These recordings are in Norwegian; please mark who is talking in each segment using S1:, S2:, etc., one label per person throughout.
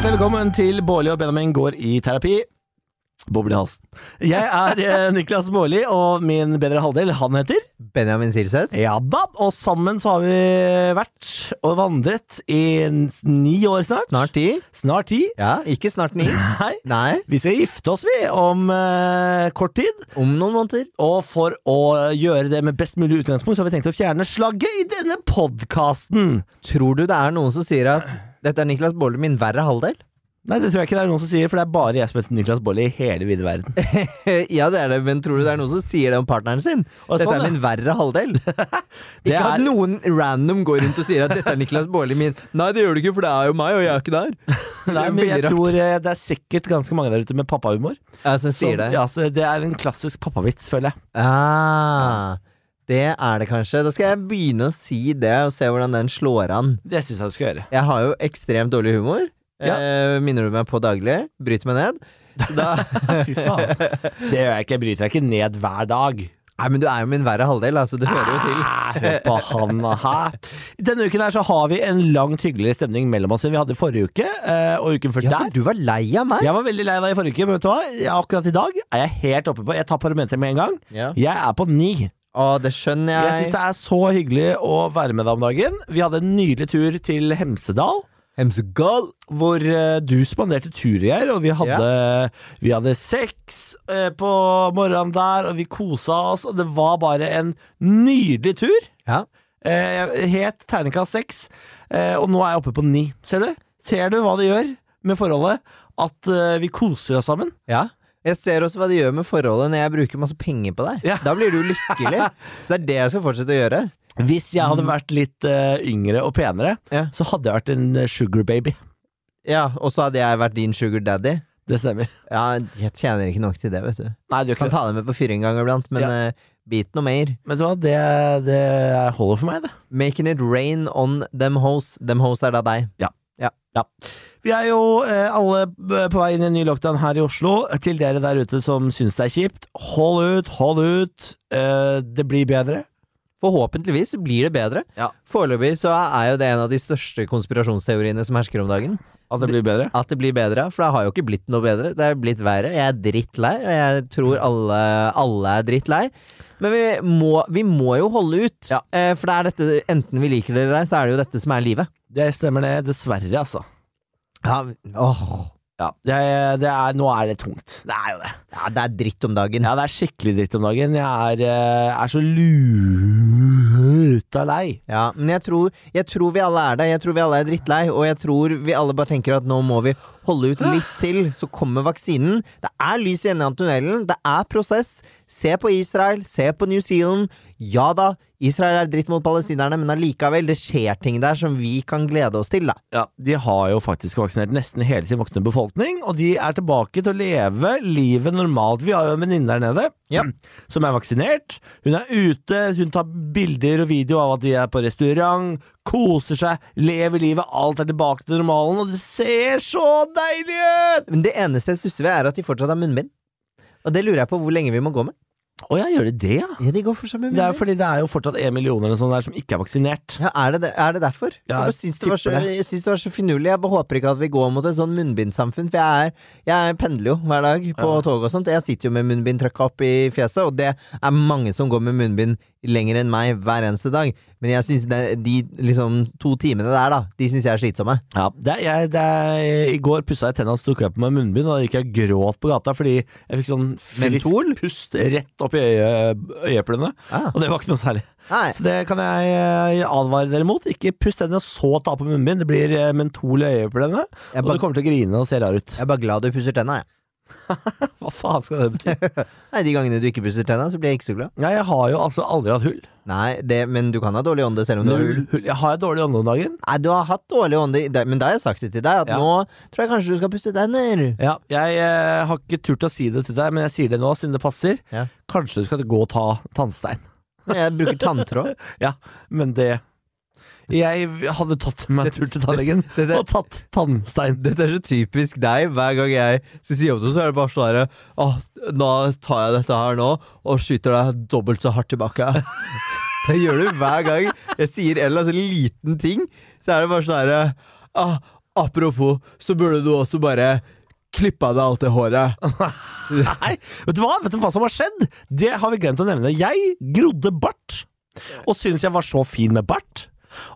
S1: Velkommen til Bårli og Benjamin går i terapi. Boble i halsen. Jeg er eh, Niklas Bårli, og min bedre halvdel, han heter
S2: Benjamin Silseth.
S1: Ja da, og sammen så har vi vært og vandret i n- ni år snart.
S2: Snart ti.
S1: Snart ti.
S2: Ja, ikke snart ni.
S1: Nei.
S2: Nei,
S1: Vi skal gifte oss, vi, om eh, kort tid.
S2: om noen måneder.
S1: Og for å gjøre det med best mulig utgangspunkt, så har vi tenkt å fjerne slagget i denne podkasten.
S2: Tror du det er noen som sier at dette er Niklas Baarli, min verre halvdel?
S1: Nei, det tror jeg ikke det er noen som sier, for det er bare jeg som heter Niklas Bolli i hele vide verden.
S2: ja, det er det, men tror du det er noen som sier det om partneren sin?
S1: Å,
S2: dette
S1: sånn,
S2: er
S1: ja.
S2: min verre halvdel.
S1: Det
S2: ikke at
S1: er-
S2: noen random går rundt og sier at dette er Niklas Baarli min. Nei, det gjør du ikke, for det er jo meg, og jeg er ikke der. Det er
S1: Nei, men
S2: veldig
S1: jeg
S2: rart.
S1: tror eh, det er sikkert ganske mange der ute med pappahumor.
S2: Sånn, Ja, som
S1: Som-
S2: sier det.
S1: Ja, så det er en klassisk pappavits, føler jeg.
S2: Ah, det er det kanskje. Da skal jeg begynne å si det, og se hvordan den slår an.
S1: Det syns jeg du skal gjøre.
S2: Jeg har jo ekstremt dårlig humor.
S1: Ja.
S2: Eh, minner du meg på daglig? Bryter meg ned. Så da,
S1: Fy faen. Det gjør jeg ikke. Jeg bryter deg ikke ned hver dag.
S2: nei, men du er jo min verre halvdel, altså. Du hører jo til.
S1: Ah, Hør på han, aha. Denne uken her så har vi en langt hyggeligere stemning mellom oss enn vi hadde forrige uke eh, og uken før
S2: Ja,
S1: der.
S2: for du var lei av meg.
S1: Jeg var veldig lei deg i forrige uke, men vet du hva? Jeg, akkurat i dag er jeg helt oppe på Jeg tar parometeret med en gang.
S2: Ja.
S1: Jeg er på ni.
S2: Å, det skjønner jeg.
S1: Jeg syns det er så hyggelig å være med deg om dagen. Vi hadde en nydelig tur til Hemsedal.
S2: Hemsegal.
S1: Hvor eh, du spanderte tur, Geir, og vi hadde, vi hadde sex eh, på morgenen der, og vi kosa oss, og det var bare en nydelig tur.
S2: Ja.
S1: Eh, het terningkast seks, eh, og nå er jeg oppe på ni. Ser du? Ser du hva det gjør med forholdet? At eh, vi koser oss sammen?
S2: ja. Jeg ser også hva det gjør med forholdet når jeg bruker masse penger på deg.
S1: Ja.
S2: Da blir du lykkelig. Så det er det jeg skal fortsette å gjøre.
S1: Hvis jeg
S2: Mm.
S1: hadde vært litt eh, yngre og penere,
S2: Ja.
S1: så hadde jeg vært en eh, sugar baby.
S2: Ja, Og så hadde jeg vært din sugar daddy.
S1: Det stemmer.
S2: Ja, jeg tjener ikke nok til det, vet du.
S1: Nei, det gjør
S2: Kan
S1: ikke det.
S2: ta deg med på fyr en gang iblant, men
S1: Ja.
S2: eh, bit noe mer.
S1: Men vet du hva, det, det holder for meg, det.
S2: Making it rain on them hoes. Them hoes er da deg.
S1: Vi er jo eh, alle b- på vei inn i en ny lockdown her i Oslo. Til dere der ute som syns det er kjipt, hold ut, hold ut. Eh, det blir bedre.
S2: Forhåpentligvis blir det bedre.
S1: Ja.
S2: Foreløpig så er jo det en av de største konspirasjonsteoriene som hersker om dagen.
S1: At det blir bedre?
S2: At det blir bedre, for det har jo ikke blitt noe bedre. Det er blitt verre. Jeg er drittlei, og jeg tror alle, alle er drittlei. Men vi må, vi må jo holde ut.
S1: Ja.
S2: Eh, For det er dette, enten vi liker det eller ei, så er det jo dette som er livet.
S1: Det stemmer det, dessverre, altså.
S2: Ja, åh.
S1: Ja, det, er- det er, Nå er det tungt. Det er jo det.
S2: ja det er dritt om dagen.
S1: Ja, det er skikkelig dritt om dagen. Jeg er, eh, er så luta lei.
S2: Ja, men jeg tror, jeg tror vi alle er der. Jeg tror vi alle er drittlei. Og jeg tror vi alle bare tenker at nå må vi holde ut litt til, så kommer vaksinen. Det er lys i enden av tunnelen. Det er prosess. Se på Israel. Se på New Zealand. Ja da, Israel er dritt mot palestinerne, men allikevel, det skjer ting der som vi kan glede oss til, da.
S1: Ja, De har jo faktisk vaksinert nesten hele sin voksne befolkning, og de er tilbake til å leve livet normalt. Vi har jo en venninne der nede
S2: Ja.
S1: som er vaksinert. Hun er ute, hun tar bilder og video av at de er på restaurant, koser seg, lever livet, alt er tilbake til normalen, og det ser så deilig ut!
S2: Men det eneste jeg stusser ved, er at de fortsatt har munnbind. Og det lurer jeg på hvor lenge vi må gå med.
S1: Å ja, gjør de det, ja?
S2: Ja, de går fortsatt med
S1: Det er
S2: munnbind.
S1: fordi det er jo fortsatt én million eller noe sånt der som ikke er vaksinert.
S2: Ja, er, det, det- er det derfor?
S1: Ja,
S2: jeg bare syns det, var så-
S1: tipper
S2: jeg syns det var så finurlig. Jeg bare håper ikke at vi går mot et sånn munnbindsamfunn. For jeg, er, jeg pendler jo hver dag på
S1: Ja.
S2: tog og sånt. Jeg sitter jo med munnbind trøkka opp i fjeset, og det er mange som går med munnbind lenger enn meg hver eneste dag. Men jeg syns det- de liksom, to timene der, da, de syns jeg er slitsomme.
S1: Ja, det, er- jeg, det, er- I går pussa jeg tenna og tok jeg på meg munnbind, og da gikk jeg og gråt på gata fordi jeg fikk sånn
S2: Mentol?
S1: frisk pust rett opp i øye, øyeeplene.
S2: Ah.
S1: Og det var ikke noe særlig.
S2: Nei.
S1: Så det kan jeg eh, advare dere mot. Ikke pust tennene og så ta på munnbind. Det blir eh, mentol i øyeeplene,
S2: Jeg
S1: og
S2: bare-
S1: du kommer til å grine og se rar ut.
S2: Jeg er bare glad du pusser tenna, jeg.
S1: Hva faen skal det bety?
S2: Nei, de gangene du ikke pusser tenna, så blir jeg ikke så glad.
S1: Nei, jeg har jo altså aldri hatt hull.
S2: Nei, det, men du kan ha dårlig ånde selv om du har hull.
S1: Null hull. Jeg har et dårlig ånde om dagen.
S2: Nei, du har hatt dårlig ånde, i- det- men da har jeg sagt det til deg, at
S1: Ja.
S2: nå tror jeg kanskje du skal pusse tenner.
S1: Ja, jeg eh, har ikke turt å si det til deg, men jeg sier det nå siden det passer.
S2: Ja.
S1: Kanskje du skal gå og ta tannstein.
S2: Jeg bruker tanntråd.
S1: Ja, men det Jeg hadde tatt meg en tur til tannlegen
S2: det-
S1: og tatt tannstein.
S2: Dette er så typisk deg. Hver gang jeg skal si jobb til, så er det bare sånn herre Åh, nå tar jeg dette her nå, og skyter deg dobbelt så hardt tilbake. Det gjør du hver gang jeg sier en eller annen sånn liten ting. Så er det bare sånn herre Åh,
S3: Apropos, så burde du også bare klippe av deg alt det håret.
S1: Nei, vet du hva? Vet du hva som har skjedd? Det har vi glemt å nevne. Jeg grodde bart, og syntes jeg var så fin med bart.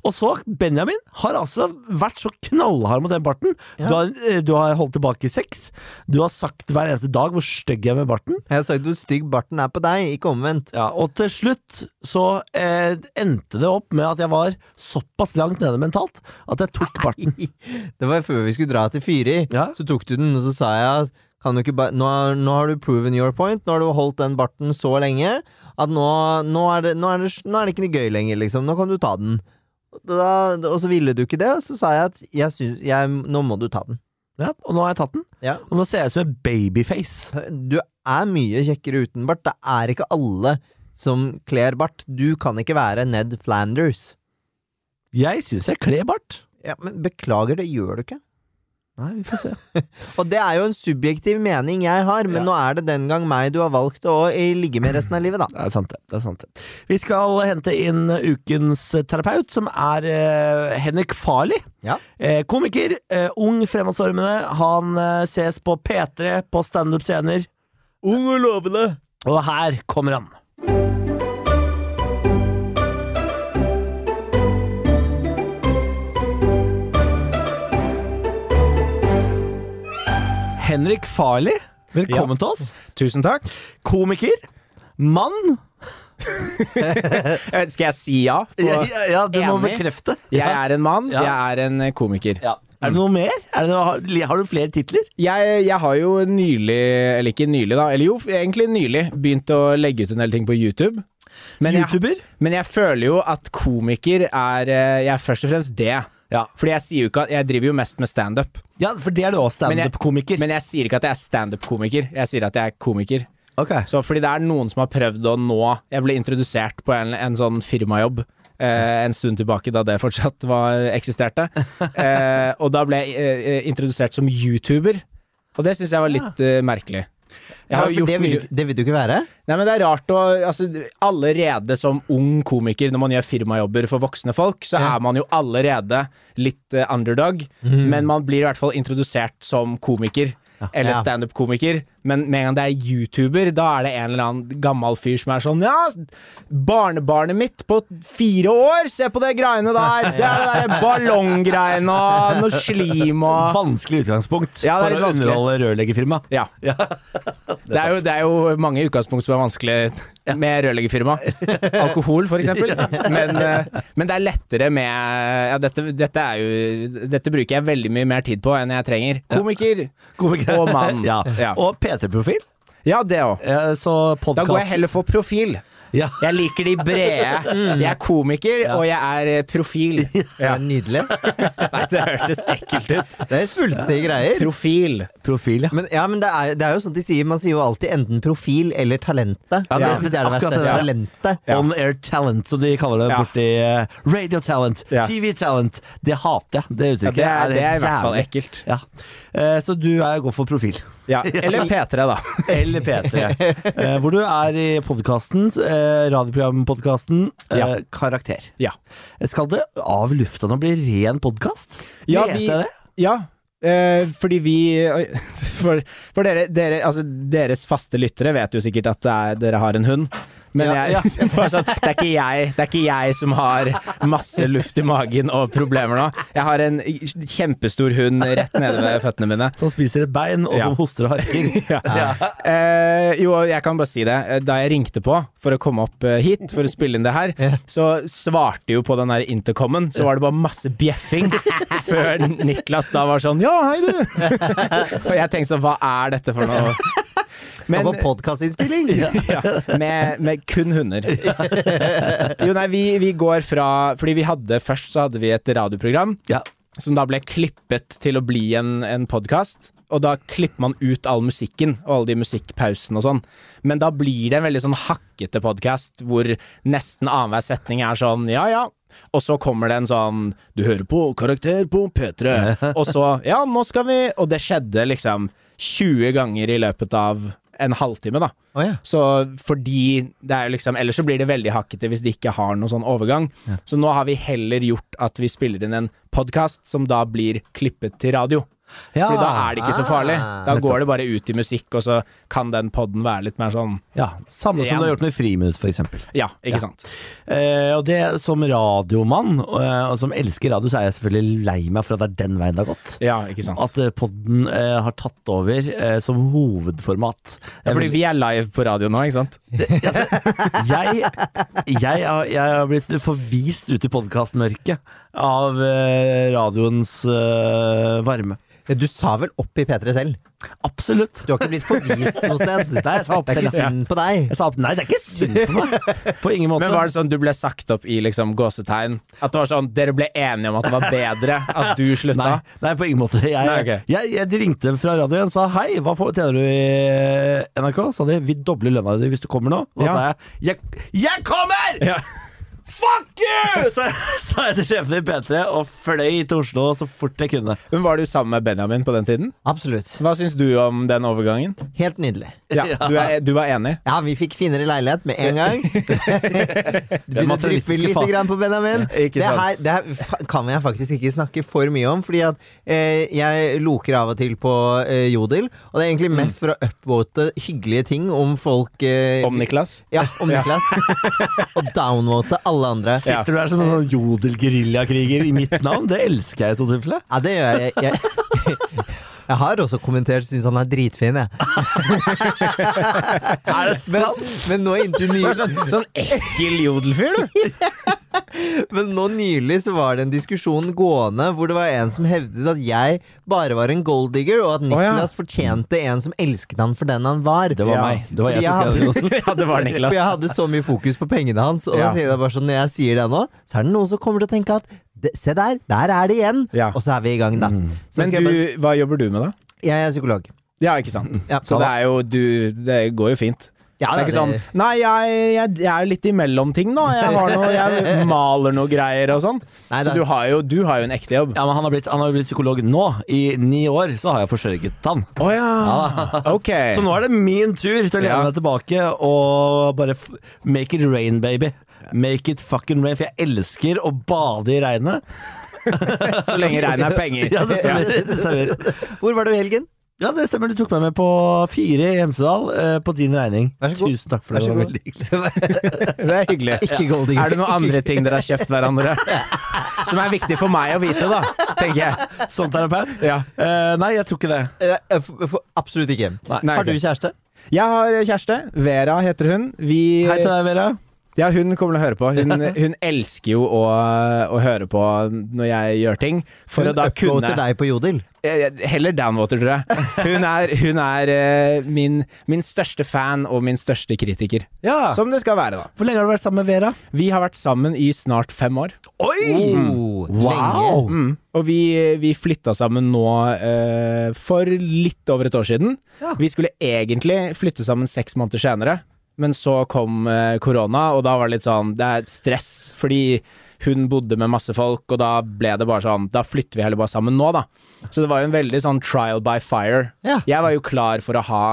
S1: Og så, Benjamin har altså vært så knallhard mot den barten.
S2: Ja.
S1: Du, har, eh, du har holdt tilbake sex. Du har sagt hver eneste dag hvor stygg jeg er med barten.
S2: Jeg har sagt hvor stygg barten er på deg, ikke omvendt.
S1: Ja, og til slutt så eh, endte det opp med at jeg var såpass langt nede mentalt at jeg tok barten.
S2: Det var før vi skulle dra til Fyri.
S1: Ja.
S2: Så tok du den, og så sa jeg at kan du ikke ba nå, har- nå har du proven your point. Nå har du holdt den barten så lenge at nå, nå, er, det, nå, er, det, nå er det ikke noe gøy lenger, liksom. Nå kan du ta den. Og Da, og så ville du ikke det, og så sa jeg at jeg syns- jeg, nå må du ta den.
S1: Ja, og nå har jeg tatt den.
S2: Ja.
S1: Og nå ser jeg ut som en babyface.
S2: Du er mye kjekkere uten bart. Det er ikke alle som kler bart. Du kan ikke være Ned Flanders.
S1: Jeg syns jeg kler bart.
S2: Ja, men Beklager, det gjør du ikke.
S1: Nei, vi får se.
S2: Og det er jo en subjektiv mening jeg har,
S1: Ja.
S2: men nå er det den gang meg du har valgt å eh, ligge med resten av livet, da.
S1: Det er sant, det. det er sant det. Vi skal hente inn ukens terapeut, som er eh, Henrik Farli.
S2: Ja.
S1: Eh, komiker, eh, ung, fremadstormende. Han eh, ses på P3 på standup-scener.
S3: Ung og lovende.
S1: Og her kommer han. Henrik Farli, velkommen til oss.
S4: Tusen takk.
S1: Komiker. Mann.
S4: Jeg vet, Eh, skal jeg si ja? På,
S1: Ja, ja, ja, du må
S4: Enig.
S1: bekrefte.
S4: jeg er en mann,
S1: Ja.
S4: jeg er en eh, komiker.
S1: Er det noe mer? Er det noe, har- har du flere titler?
S4: Jeg, jeg har jo nylig, eller ikke nylig da, eller jo, egentlig nylig, begynt å legge ut en del ting på YouTube. Men jeg,
S1: YouTuber?
S4: men jeg føler jo at komiker er eh, Jeg er først og fremst det.
S1: Ja.
S4: Fordi jeg sier jo ikke at Jeg driver jo mest med standup.
S1: Ja, for det er du også,
S4: Men jeg-
S1: standup-komiker.
S4: Men jeg sier ikke at jeg er standup-komiker. Jeg sier at jeg er komiker.
S1: Ok.
S4: Så fordi det er noen som har prøvd å nå Jeg ble introdusert på en, en sånn firmajobb eh, en stund tilbake, da det fortsatt var, eksisterte. Eh, og da ble jeg eh, introdusert som YouTuber, og det syns jeg var litt eh, merkelig. Jeg
S2: Ja,
S4: har jo
S2: for
S4: gjort
S2: det, vil,
S4: mye
S2: du- det vil du ikke være?
S4: Nei, men det er rart å altså, Allerede som ung komiker, når man gjør firmajobber for voksne folk, så er man jo allerede litt eh, underdog, men man blir i hvert fall introdusert som komiker.
S2: Mm.
S4: Eller
S2: Ja.
S4: standup-komiker, men med en gang det er YouTuber, da er det en eller annen gammel fyr som er sånn Ja, barnebarnet mitt på fire år, se på det greiene der! Det er det derre ballonggreiene og noe slim og
S1: Vanskelig utgangspunkt
S4: Ja, det er
S1: for
S4: litt
S1: å
S4: vanskelig.
S1: underholde rørleggerfirmaet.
S4: Ja. Det er, jo, det er jo mange utgangspunkt som er vanskelig med rørleggerfirma. Alkohol, for eksempel. Men, eh, men det er lettere med ja, dette, dette, er jo, dette bruker jeg veldig mye mer tid på enn jeg trenger. Komiker
S1: Komiker.
S4: og mann.
S1: Ja.
S4: Ja.
S1: Og P3-profil.
S4: Ja, det òg.
S1: Eh, Så podkast
S4: Da går jeg heller for profil.
S1: ja.
S4: Jeg liker de brede. Jeg er komiker, og jeg er eh, profil. Ja.
S2: Det er nydelig.
S4: Nei, det hørtes ekkelt ut.
S2: Det er svulstige greier.
S4: Profil.
S1: Profil, ja.
S2: Men, ja, men det, er, det er jo sånt de sier. Man sier jo alltid enten profil eller talentet.
S1: Ja, det-
S2: synes jeg er
S1: akkurat
S2: det
S1: det
S2: verste.
S1: der.
S2: Talentet.
S4: Ja.
S1: On air talent, som de kaller det
S4: Ja.
S1: borti eh, Radio talent,
S4: Ja.
S1: TV talent. Det hater jeg, det
S4: Ja,
S1: uttrykket.
S4: det, er, det er i hvert fall
S1: jævlig.
S4: ekkelt.
S1: Ja. Eh, Så du er går for profil.
S4: Ja. Eller P3, da.
S1: Eller P3. eh, hvor du er i podkasten, eh, radioprogrampodkasten eh,
S4: Ja.
S1: Karakter.
S4: Ja.
S1: Skal det av lufta nå bli ren podkast?
S4: Ja,
S1: Leste
S4: vi-
S1: jeg det?
S4: Ja, eh, fordi vi oi, For, for dere, dere, altså, deres faste lyttere vet jo sikkert at det er, dere har en hund. Men
S1: Ja,
S4: jeg, bare sånn, det, er ikke jeg, det er ikke jeg som har masse luft i magen og problemer nå. Jeg har en kjempestor hund rett nede ved føttene mine.
S1: Som spiser et bein, og
S4: Ja.
S1: som hoster og harker.
S4: Ja. Eh, jo, jeg kan bare si det. Eh, Da jeg ringte på for å komme opp eh, hit for å spille inn det her, så svarte jo på den der intercomen, så var det bare masse bjeffing før Niklas da var sånn Ja, hei, du! Og jeg tenkte sånn, hva er dette for noe?
S2: Skal
S4: Men-
S2: på podkastinnspilling!
S4: ja, med, med kun hunder. Jo, nei, vi, vi går fra Fordi vi hadde først så hadde vi et radioprogram
S1: Ja.
S4: som da ble klippet til å bli en, en podkast. Og da klipper man ut all musikken og alle de musikkpausene og sånn. Men da blir det en veldig sånn hakkete podkast hvor nesten annenhver setning er sånn ja, ja. Og så kommer det en sånn Du hører på Karakter på P3. Og så Ja, nå skal vi Og det skjedde liksom 20 ganger i løpet av en halvtime, da.
S2: Å ja.
S4: Så fordi det er jo liksom Ellers så blir det veldig hakkete hvis de ikke har noen sånn overgang. Så nå har vi heller gjort at vi spiller inn en podkast som da blir klippet til radio.
S1: Ja.
S4: Fordi da er det ikke så farlig.
S2: Ah.
S4: Da går det bare ut i musikk, og så kan den podden være litt mer sånn
S1: ja, Samme som
S4: Ja.
S1: du har gjort med Friminutt, for eksempel.
S4: Ja, ikke sant.
S1: Eh, og det som radiomann, eh, og som elsker radio, så er jeg selvfølgelig lei meg for at det er den veien det har gått.
S4: Ja, ikke sant.
S1: At eh, podden eh, har tatt over eh, som hovedformat.
S4: Ja, fordi vi er live på radio nå, ikke sant?
S1: jeg, altså, jeg, har, jeg har blitt forvist ut i podkastmørket av eh, radioens eh, varme.
S2: Du sa vel opp i P3 selv?
S1: Absolutt.
S2: Du har ikke blitt forvist noe sted?
S1: Nei, jeg sa opp
S2: Det er
S1: selv,
S2: ikke
S1: ja.
S2: synd på deg.
S1: Jeg sa at nei, det er ikke synd på meg! På ingen måte.
S4: Men var det sånn du ble sagt opp i liksom gåsetegn? At det var sånn dere ble enige om at det var bedre at du slutta?
S1: Nei, nei, på ingen måte. Jeg,
S4: Nei, ok.
S1: jeg, jeg, de ringte fra radioen og sa hei, hva får, tjener du i eh, NRK? Sa de vi dobler lønna di hvis du kommer nå. Og da
S4: Ja.
S1: sa jeg jeg, jeg kommer!
S4: Ja.
S1: Fuck you! Sa jeg, sa jeg til sjefen i P3 og fløy til Oslo så fort jeg kunne.
S4: Men var du sammen med Benjamin på den tiden?
S2: Absolutt.
S4: Hva syns du om den overgangen?
S2: Helt nydelig.
S4: Ja, du, er, du var enig?
S2: Ja, vi fikk finere leilighet med en gang. Begynner å dryppe
S1: materialistiske
S2: lite
S1: faen.
S2: grann på Benjamin.
S4: ikke
S2: Det
S4: sant.
S2: her, det her fa- kan jeg faktisk ikke snakke for mye om, fordi at eh, jeg loker av og til på eh, Jodel, og det er egentlig mest for å upvote hyggelige ting om folk eh,
S4: Om Niklas?
S2: Ja, om Niklas. og downvote alle andre. Ja.
S1: Sitter du der som en sånn jodel-geriljakriger i mitt navn? Det elsker jeg i så tilfelle.
S2: det gjør jeg. Jeg, jeg har også kommentert, syns han er dritfin, jeg.
S1: Er det sant?
S2: Men, men nå inntil nylig
S4: Sånn, sånn ekkel jodelfyr, du!
S2: Men nå nylig så var det en diskusjon gående hvor det var en som hevdet at jeg bare var en golddigger, og at Niklas fortjente en som elsket han for den han var.
S1: Det var
S4: Ja.
S1: meg. Det var jeg
S2: Ja.
S1: som skrev det.
S4: Ja, det var
S2: For
S4: Niklas.
S2: jeg hadde så mye fokus på pengene hans, og da
S4: Ja.
S2: tenkte jeg bare sånn når jeg sier det nå, så er det noen som kommer til å tenke at "Det- se der, der er det igjen!
S4: Ja. Mm.
S2: Og så er vi i gang, da. Så
S4: Men
S2: skal jeg, bare,
S4: du, hva jobber du med, da?
S2: jeg er psykolog.
S4: Ja, ikke sant.
S2: Ja,
S4: Så det er jo du Det går jo fint.
S2: ja,
S4: det er ikke sånn Nei, jeg, jeg, jeg er litt imellom ting nå. Jeg, har noe, jeg maler noe greier og sånn.
S2: Nei,
S4: Så
S2: da-
S4: du har jo, du har jo en ekte jobb.
S1: Ja, men han har, blitt, han har blitt psykolog nå. I ni år så har jeg forsørget han.
S4: Å ja. Ok.
S1: Så nå er det min tur til å lene
S4: Ja.
S1: meg tilbake og bare f make it rain, baby. Make it fucking rain, for jeg elsker å bade i regnet.
S4: Så lenge regnet er penger.
S1: Ja, det stemmer. Det stemmer.
S2: Hvor var du i helgen?
S1: Ja, det stemmer. Du tok meg med på fire i Hemsedal eh, på din regning.
S2: Vær så god.
S1: Tusen takk for det.
S2: Vær så
S1: det var
S2: god.
S1: veldig hyggelig.
S4: Det er hyggelig.
S2: Ikke golddigger.
S4: Er det noen andre ting dere har kjøpt hverandre? Som er viktig for meg å vite, da, tenker jeg.
S1: Sånn, terapeut?
S4: Ja.
S1: Eh, nei, jeg tror ikke det.
S2: Eh, f- f- Absolutt ikke.
S4: Nei,
S2: har du
S4: ok.
S2: kjæreste?
S4: Jeg har kjæreste. Vera heter hun. Vi,
S1: Hei til deg, Vera.
S4: ja, hun kommer til å høre på. Hun, hun elsker jo å, å høre på når jeg gjør ting. For å da
S2: upvoter
S4: kunne
S2: deg på Jodel.
S4: Eh, Heller downwater, tror jeg. Hun er, hun er eh, min, min største fan og min største kritiker.
S1: Ja.
S4: Som det skal være, da.
S1: Hvor lenge har du vært sammen med Vera?
S4: Vi har vært sammen i snart fem år.
S1: Oi!
S2: Oh, lenge.
S1: Mm. Wow!
S4: Mm. Og vi, vi flytta sammen nå eh, for litt over et år siden.
S1: Ja.
S4: Vi skulle egentlig flytte sammen seks måneder senere, men så kom eh, korona, og da var det litt sånn Det er stress, fordi hun bodde med masse folk, og da ble det bare sånn Da flytter vi heller bare sammen nå, da. Så det var jo en veldig sånn trial by fire.
S2: Ja.
S4: Jeg var jo klar for å ha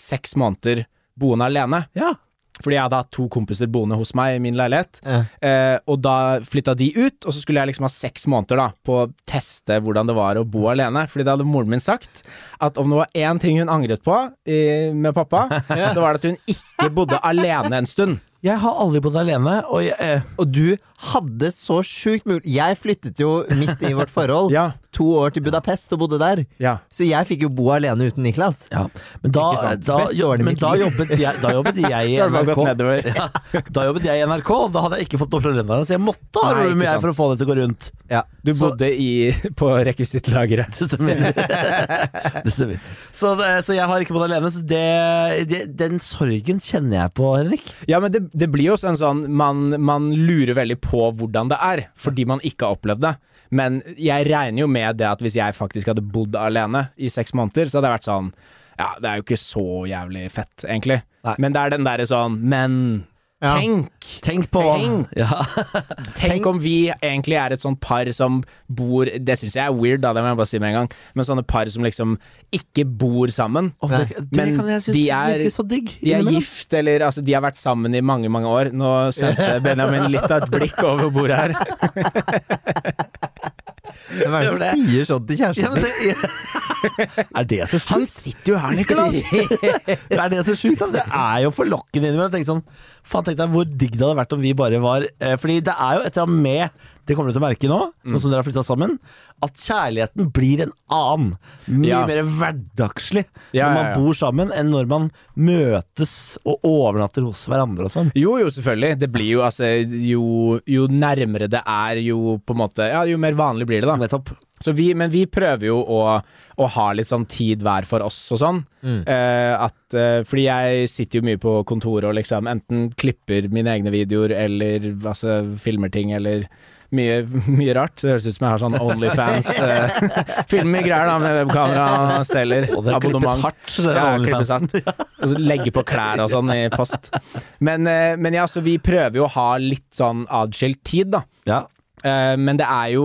S4: seks måneder boende alene,
S1: Ja.
S4: fordi jeg hadde hatt to kompiser boende hos meg i min leilighet.
S2: Ja.
S4: Eh, og da flytta de ut, og så skulle jeg liksom ha seks måneder da på å teste hvordan det var å bo alene. Fordi da hadde moren min sagt at om det var én ting hun angret på eh, med pappa, så var det at hun ikke bodde alene en stund.
S1: Jeg har aldri bodd alene, og jeg, eh,
S2: Og du hadde så sjukt mulig Jeg flyttet jo midt i vårt forhold.
S4: Ja.
S2: To år til Budapest og bodde der.
S4: Ja.
S2: Så jeg fikk jo bo alene uten Niklas.
S1: Ja, men da,
S2: Ikke sant?
S1: da,
S2: Beste årene i
S1: men
S2: mitt
S1: da,
S2: liv.
S1: jobbet jeg, da jobbet jeg i
S4: Så har det bare gått
S1: NRK.
S4: nedover.
S1: Ja, da jobbet jeg i NRK, og da hadde jeg ikke fått noe fra lønna, så jeg måtte ha
S4: Nei,
S1: room
S4: ikke
S1: jeg
S4: sant.
S1: for å få det til å gå rundt.
S2: Ja.
S4: Du bodde i, på rekvisittlageret.
S1: Det stemmer. det stemmer. Så, det, så jeg har ikke bodd alene, så det, det, den sorgen kjenner jeg på, Henrik.
S4: Ja, men det, det blir jo også en sånn man, man lurer veldig på hvordan det er, fordi man ikke har opplevd det. Men jeg regner jo med det at hvis jeg faktisk hadde bodd alene i seks måneder, så hadde jeg vært sånn Ja, det er jo ikke så jævlig fett, egentlig.
S1: Nei.
S4: Men det er den derre sånn Men
S2: Ja.
S4: Tenk!
S1: Tenk på
S4: Tenk.
S1: Ja.
S4: Tenk om vi egentlig er et sånn par som bor Det syns jeg er weird, da, det må jeg bare si med en gang. Men sånne par som liksom ikke bor sammen.
S1: Og det, det
S4: Men
S1: kan jeg synes
S4: de er-
S1: virker så digg.
S4: De er
S1: innimellom.
S4: gift, eller altså, de har vært sammen i mange, mange år. Nå sendte Benjamin litt av et blikk over bordet her.
S2: Hvem er
S1: Det
S2: det
S1: er
S2: som sier sånn til
S1: ja,
S2: kjæresten
S1: men
S2: sin?
S1: det, Er det så sjukt?
S4: Han sitter jo her, Nicolas!
S1: er det så sjukt? da? Det er jo forlokkende innimellom. Tenk sånn, faen tenk deg hvor digg det hadde vært om vi bare var eh, Fordi det er jo et eller annet med det kommer du til å merke nå, nå som dere har flytta sammen, at kjærligheten blir en annen. Mye
S4: Ja.
S1: mer hverdagslig
S4: Ja,
S1: når man
S4: ja, ja.
S1: bor sammen, enn når man møtes og overnatter hos hverandre og sånn.
S4: Jo, jo, selvfølgelig. Det blir jo altså Jo, jo nærmere det er, jo på en måte Ja, jo mer vanlig blir det, da.
S1: Nettopp.
S4: Så vi, men vi prøver jo å, å ha litt sånn tid hver for oss og sånn.
S1: Mm.
S4: Eh, at, eh, fordi jeg sitter jo mye på kontoret og liksom enten klipper mine egne videoer eller altså, filmer ting eller mye, mye rart. Det høres ut som jeg har sånn Onlyfans. eh, filmer greier da med webkamera, selger
S1: Og det klippes
S4: abonnement.
S1: hardt. Det er
S4: Ja,
S1: OnlyFans.
S4: klippes hardt. Og så legge på klær og sånn i post. Men, eh, men ja, så vi prøver jo å ha litt sånn adskilt tid, da.
S1: Ja.
S4: Eh, men det er jo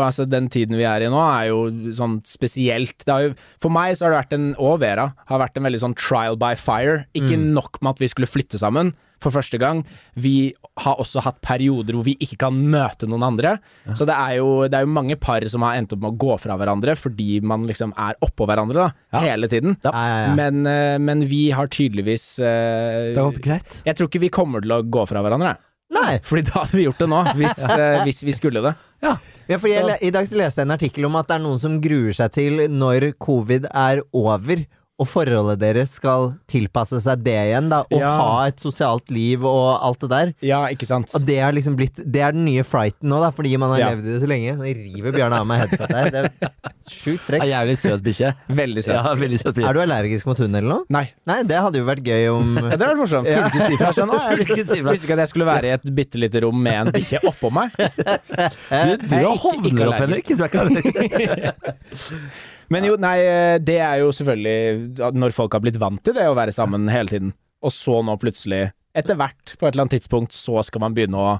S4: Altså, den tiden vi er i nå, er jo sånn spesielt. Det har jo, for meg så har det vært en, og Vera, har vært en veldig sånn trial by fire. Ikke
S1: Mm.
S4: nok med at vi skulle flytte sammen for første gang. Vi har også hatt perioder hvor vi ikke kan møte noen andre. Så det er, jo, det er jo mange par som har endt opp med å gå fra hverandre fordi man liksom er oppå hverandre da, hele tiden.
S1: Ja.
S2: Ja, ja, ja.
S4: Men, eh, men vi har tydeligvis eh,
S1: Det går greit.
S4: Jeg tror ikke vi kommer til å gå fra hverandre.
S2: Nei.
S4: Fordi da hadde vi gjort det nå, hvis, eh, hvis vi skulle det.
S2: Ja, fordi jeg, le- I dag så leste jeg en artikkel om at det er noen som gruer seg til når covid er over, og forholdet deres skal tilpasse seg det igjen, da, og
S4: Ja.
S2: ha et sosialt liv og alt det der.
S4: Ja, ikke sant?
S2: Og det, har liksom blitt, det er den nye frighten nå, da, fordi man har
S4: Ja.
S2: levd i det så lenge. Nå river Bjørn av meg headsetet her. Det er sjukt
S1: Er
S2: frekt.
S1: Jævlig søt bikkje.
S4: Veldig søt.
S1: Ja, veldig søt bikkje.
S2: Er du allergisk mot hund eller noe?
S4: Nei.
S2: Nei, det hadde jo vært gøy om
S4: Ja, det var morsomt.
S2: Ja.
S4: Tulken sier fra. Sånn, «Å, jeg visste,
S1: Tulken sier fra.
S4: visste ikke at jeg skulle være i et bitte lite rom med en bikkje oppå meg.
S1: Du, du har
S4: Jeg er ikke- ikke
S1: hovner opp, Henrik. Du er ikke allergisk.
S4: Men jo, nei, eh, det er jo selvfølgelig at når folk har blitt vant til det å være sammen hele tiden, og så nå plutselig, etter hvert, på et eller annet tidspunkt, så skal man begynne å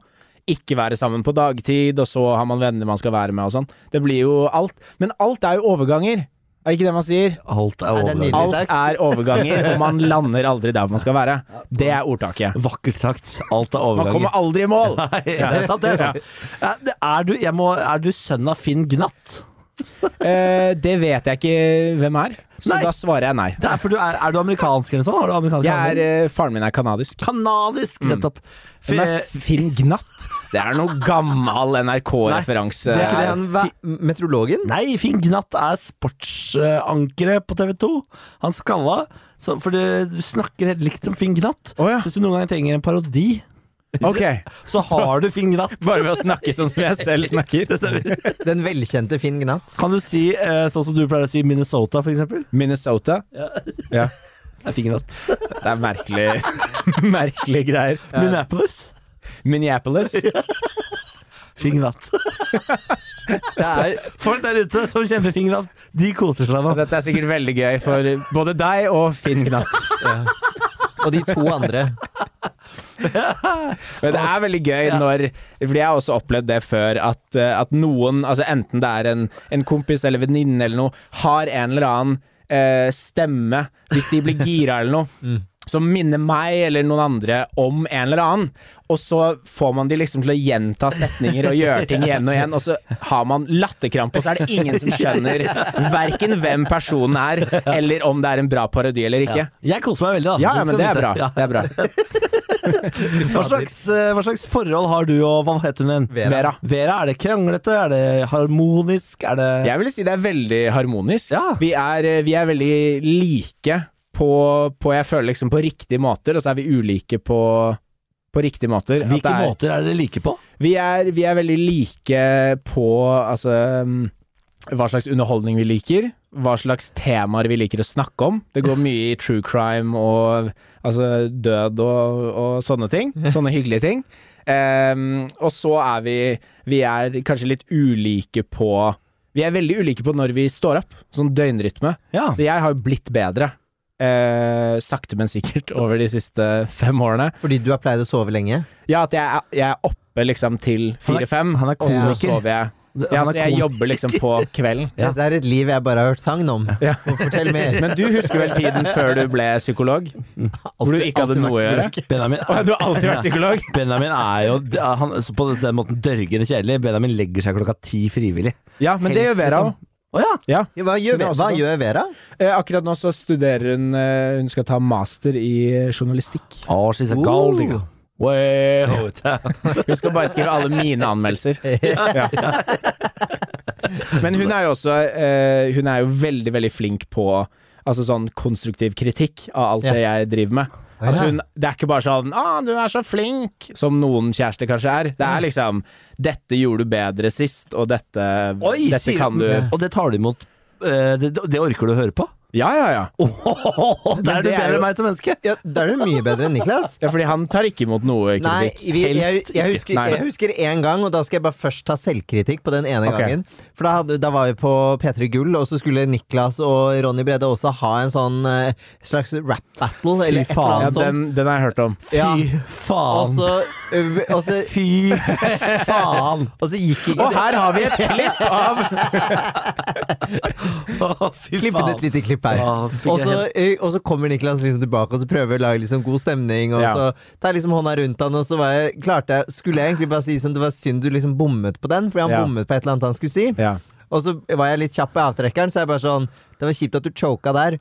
S4: ikke være sammen på dagtid, og så har man venner man skal være med og sånn. Det blir jo alt. Men alt er jo overganger. Er det ikke det man sier?
S1: Alt er
S2: Nei, det er
S1: overgangen.
S2: nydelig.
S4: Alt er overganger, og man lander aldri der man skal være. Det er ordtaket.
S1: Vakkert sagt. Alt er
S4: Man
S1: overganger.
S4: kommer aldri i mål!
S1: Nei, det er sant, det er sant. Ja, det- Er du, jeg må, er du sønn av Finn Gnatt?
S4: Eh, det vet jeg ikke hvem er, så
S1: Nei.
S4: da svarer jeg nei.
S1: Det er, for du er, er du amerikansk eller sånn? Har du amerikansk
S4: Jeg er,
S1: handling?
S4: eh, faren min er kanadisk.
S1: Kanadisk, nettopp. For,
S4: Hvem er
S1: eh,
S4: Finn Gnatt? Det er noe gammel NRK-referanse.
S2: Er ikke det han væ- meteorologen?
S1: nei, Finn Gnatt er sportsankeret på TV 2. Han skalla. Så, for du, du snakker helt likt om Finn Gnatt.
S4: Å ja.
S1: Så Hvis du noen gang trenger en parodi,
S4: Ok,
S1: så har du Finn Gnatt.
S4: bare ved å snakke sånn som jeg selv snakker.
S2: Den velkjente Finn Gnatt.
S1: Kan du si eh, sånn som du pleier å si Minnesota, for eksempel?
S4: Minnesota. Ja.
S1: Det er Finn Gnatt.
S4: Det er merkelig, merkelige greier. Eh,
S1: Minneapolis?
S4: Minneapolis.
S1: Finn Gnatt.
S2: Det er
S1: Folk der ute som kjenner Finn Gnatt, de koser seg nå.
S4: Dette er sikkert veldig gøy for både deg og Finn Gnatt.
S2: Og de to andre.
S4: Men det er veldig gøy når Fordi jeg har også opplevd det før, at, eh, at noen, altså enten det er en, en kompis eller venninne eller noe, har en eller annen eh, stemme, hvis de blir gira eller noe, som minner meg eller noen andre om en eller annen. Og så får man de liksom til å gjenta setninger og gjøre ting igjen og igjen, og så har man latterkrampe, og så er det ingen som skjønner verken hvem personen er, eller om det er en bra parodi eller ikke.
S1: Jeg koser meg veldig, da.
S4: Ja, ja, men
S1: skal
S4: det er
S1: vite.
S4: bra.
S1: Ja.
S4: Det er bra.
S1: Hva, slags, eh, hva slags forhold har du, og hva het hun igjen?
S2: Vera.
S4: Vera.
S1: Vera, er det kranglete? Er det harmonisk? Er det
S4: Jeg vil si det er veldig harmonisk.
S1: Ja.
S4: Vi, er, eh, vi er veldig like på, på Jeg føler liksom på riktige måter, og så er vi ulike på, på riktige måter. At
S1: Hvilke
S4: det er,
S1: måter er dere like på?
S4: Vi er, vi er veldig like på altså, mm, hva slags underholdning vi liker, hva slags temaer vi liker å snakke om. Det går mye i true crime og altså, død og, og sånne ting. Sånne hyggelige ting. Ehm, og så er vi Vi er kanskje litt ulike på Vi er veldig ulike på når vi står opp, sånn døgnrytme.
S1: Ja.
S4: Så jeg har jo blitt bedre eh, sakte, men sikkert over de siste fem årene.
S2: Fordi du har pleid å sove lenge?
S4: Ja, at jeg, er- jeg er oppe liksom til
S1: Han er-
S4: fire-fem,
S1: han er
S4: og så
S1: komiker.
S4: sover jeg. Ja,
S1: Han er
S4: så jeg
S1: komiker.
S4: jobber liksom på kvelden.
S1: Ja.
S2: Dette er et liv jeg bare har hørt sagn om.
S4: Ja.
S2: Fortell mer.
S4: Men du husker vel tiden før du ble psykolog? Hvor du ikke hadde
S2: alltid vært
S4: noe å gjøre?
S1: Benjamin
S4: Å, Du har alltid vært psykolog?
S1: Benjamin er jo han, så på den måten dørgende kjedelig. Benjamin legger seg klokka ti frivillig.
S4: Ja, men det
S1: Helst,
S4: gjør Vera
S1: liksom.
S4: òg.
S1: Å ja!
S4: Ja.
S2: Ja, Hva gjør,
S4: Hun er også
S2: hva
S4: sånn.
S2: gjør Vera?
S4: Eh, Akkurat nå så studerer hun eh, Hun skal ta master i journalistikk.
S1: Oh, she's a gold digger. Way out.
S4: Hun skal bare skrive alle mine anmeldelser. Ja. Men hun er jo også eh, Hun er jo veldig, veldig flink på Altså sånn konstruktiv kritikk av alt
S2: Ja.
S4: det jeg driver med. At hun, det er ikke bare sånn 'Å, du er så flink', som noen kjærester kanskje er. Det er liksom 'Dette gjorde du bedre sist', og dette,
S1: Oi,
S4: dette
S1: sier-
S4: kan du
S1: Og det tar du imot eh, det, det orker du å høre på?
S4: Ja, ja, ja.
S1: Åhåhå, der er du
S4: Men det er
S1: bedre
S4: jo-
S1: enn meg som menneske!
S2: Ja, Da er du mye bedre enn Niklas.
S4: Ja, fordi han tar ikke imot noe
S2: Nei,
S4: kritikk.
S2: vi, jeg,
S4: Helst
S2: jeg,
S4: ikke.
S2: husker,
S4: Nei.
S2: jeg husker en gang, og da skal jeg bare først ta selvkritikk på den ene
S4: Ok.
S2: gangen. For da, hadde, da var vi på P3 Gull, og så skulle Niklas og Ronny Brede også ha en sånn eh, slags rap battle, eller et
S1: faen.
S2: eller
S4: ja,
S2: annet sånt.
S4: den, den har jeg hørt om.
S1: Fy
S2: Ja. Og
S1: faen!
S2: så, ø, og så,
S1: Fy faen!
S2: og så gikk ikke
S4: Og her har vi et klipp av
S1: Å, Fy
S2: Klippet
S1: faen.
S2: et lite klipp her.
S1: Ja, fikk jeg
S2: Og så, ø, og så kommer Niklas liksom tilbake og så prøver å lage liksom god stemning. Og
S4: Ja.
S2: så tar jeg liksom hånda rundt han, og så var jeg, klarte jeg Skulle jeg egentlig bare si sånn det var synd du liksom bommet på den, fordi han
S4: Ja.
S2: bommet på et eller annet han skulle si.
S4: Ja.
S2: Og så var jeg litt kjapp i avtrekkeren, så jeg bare sånn Det var kjipt at du choka der.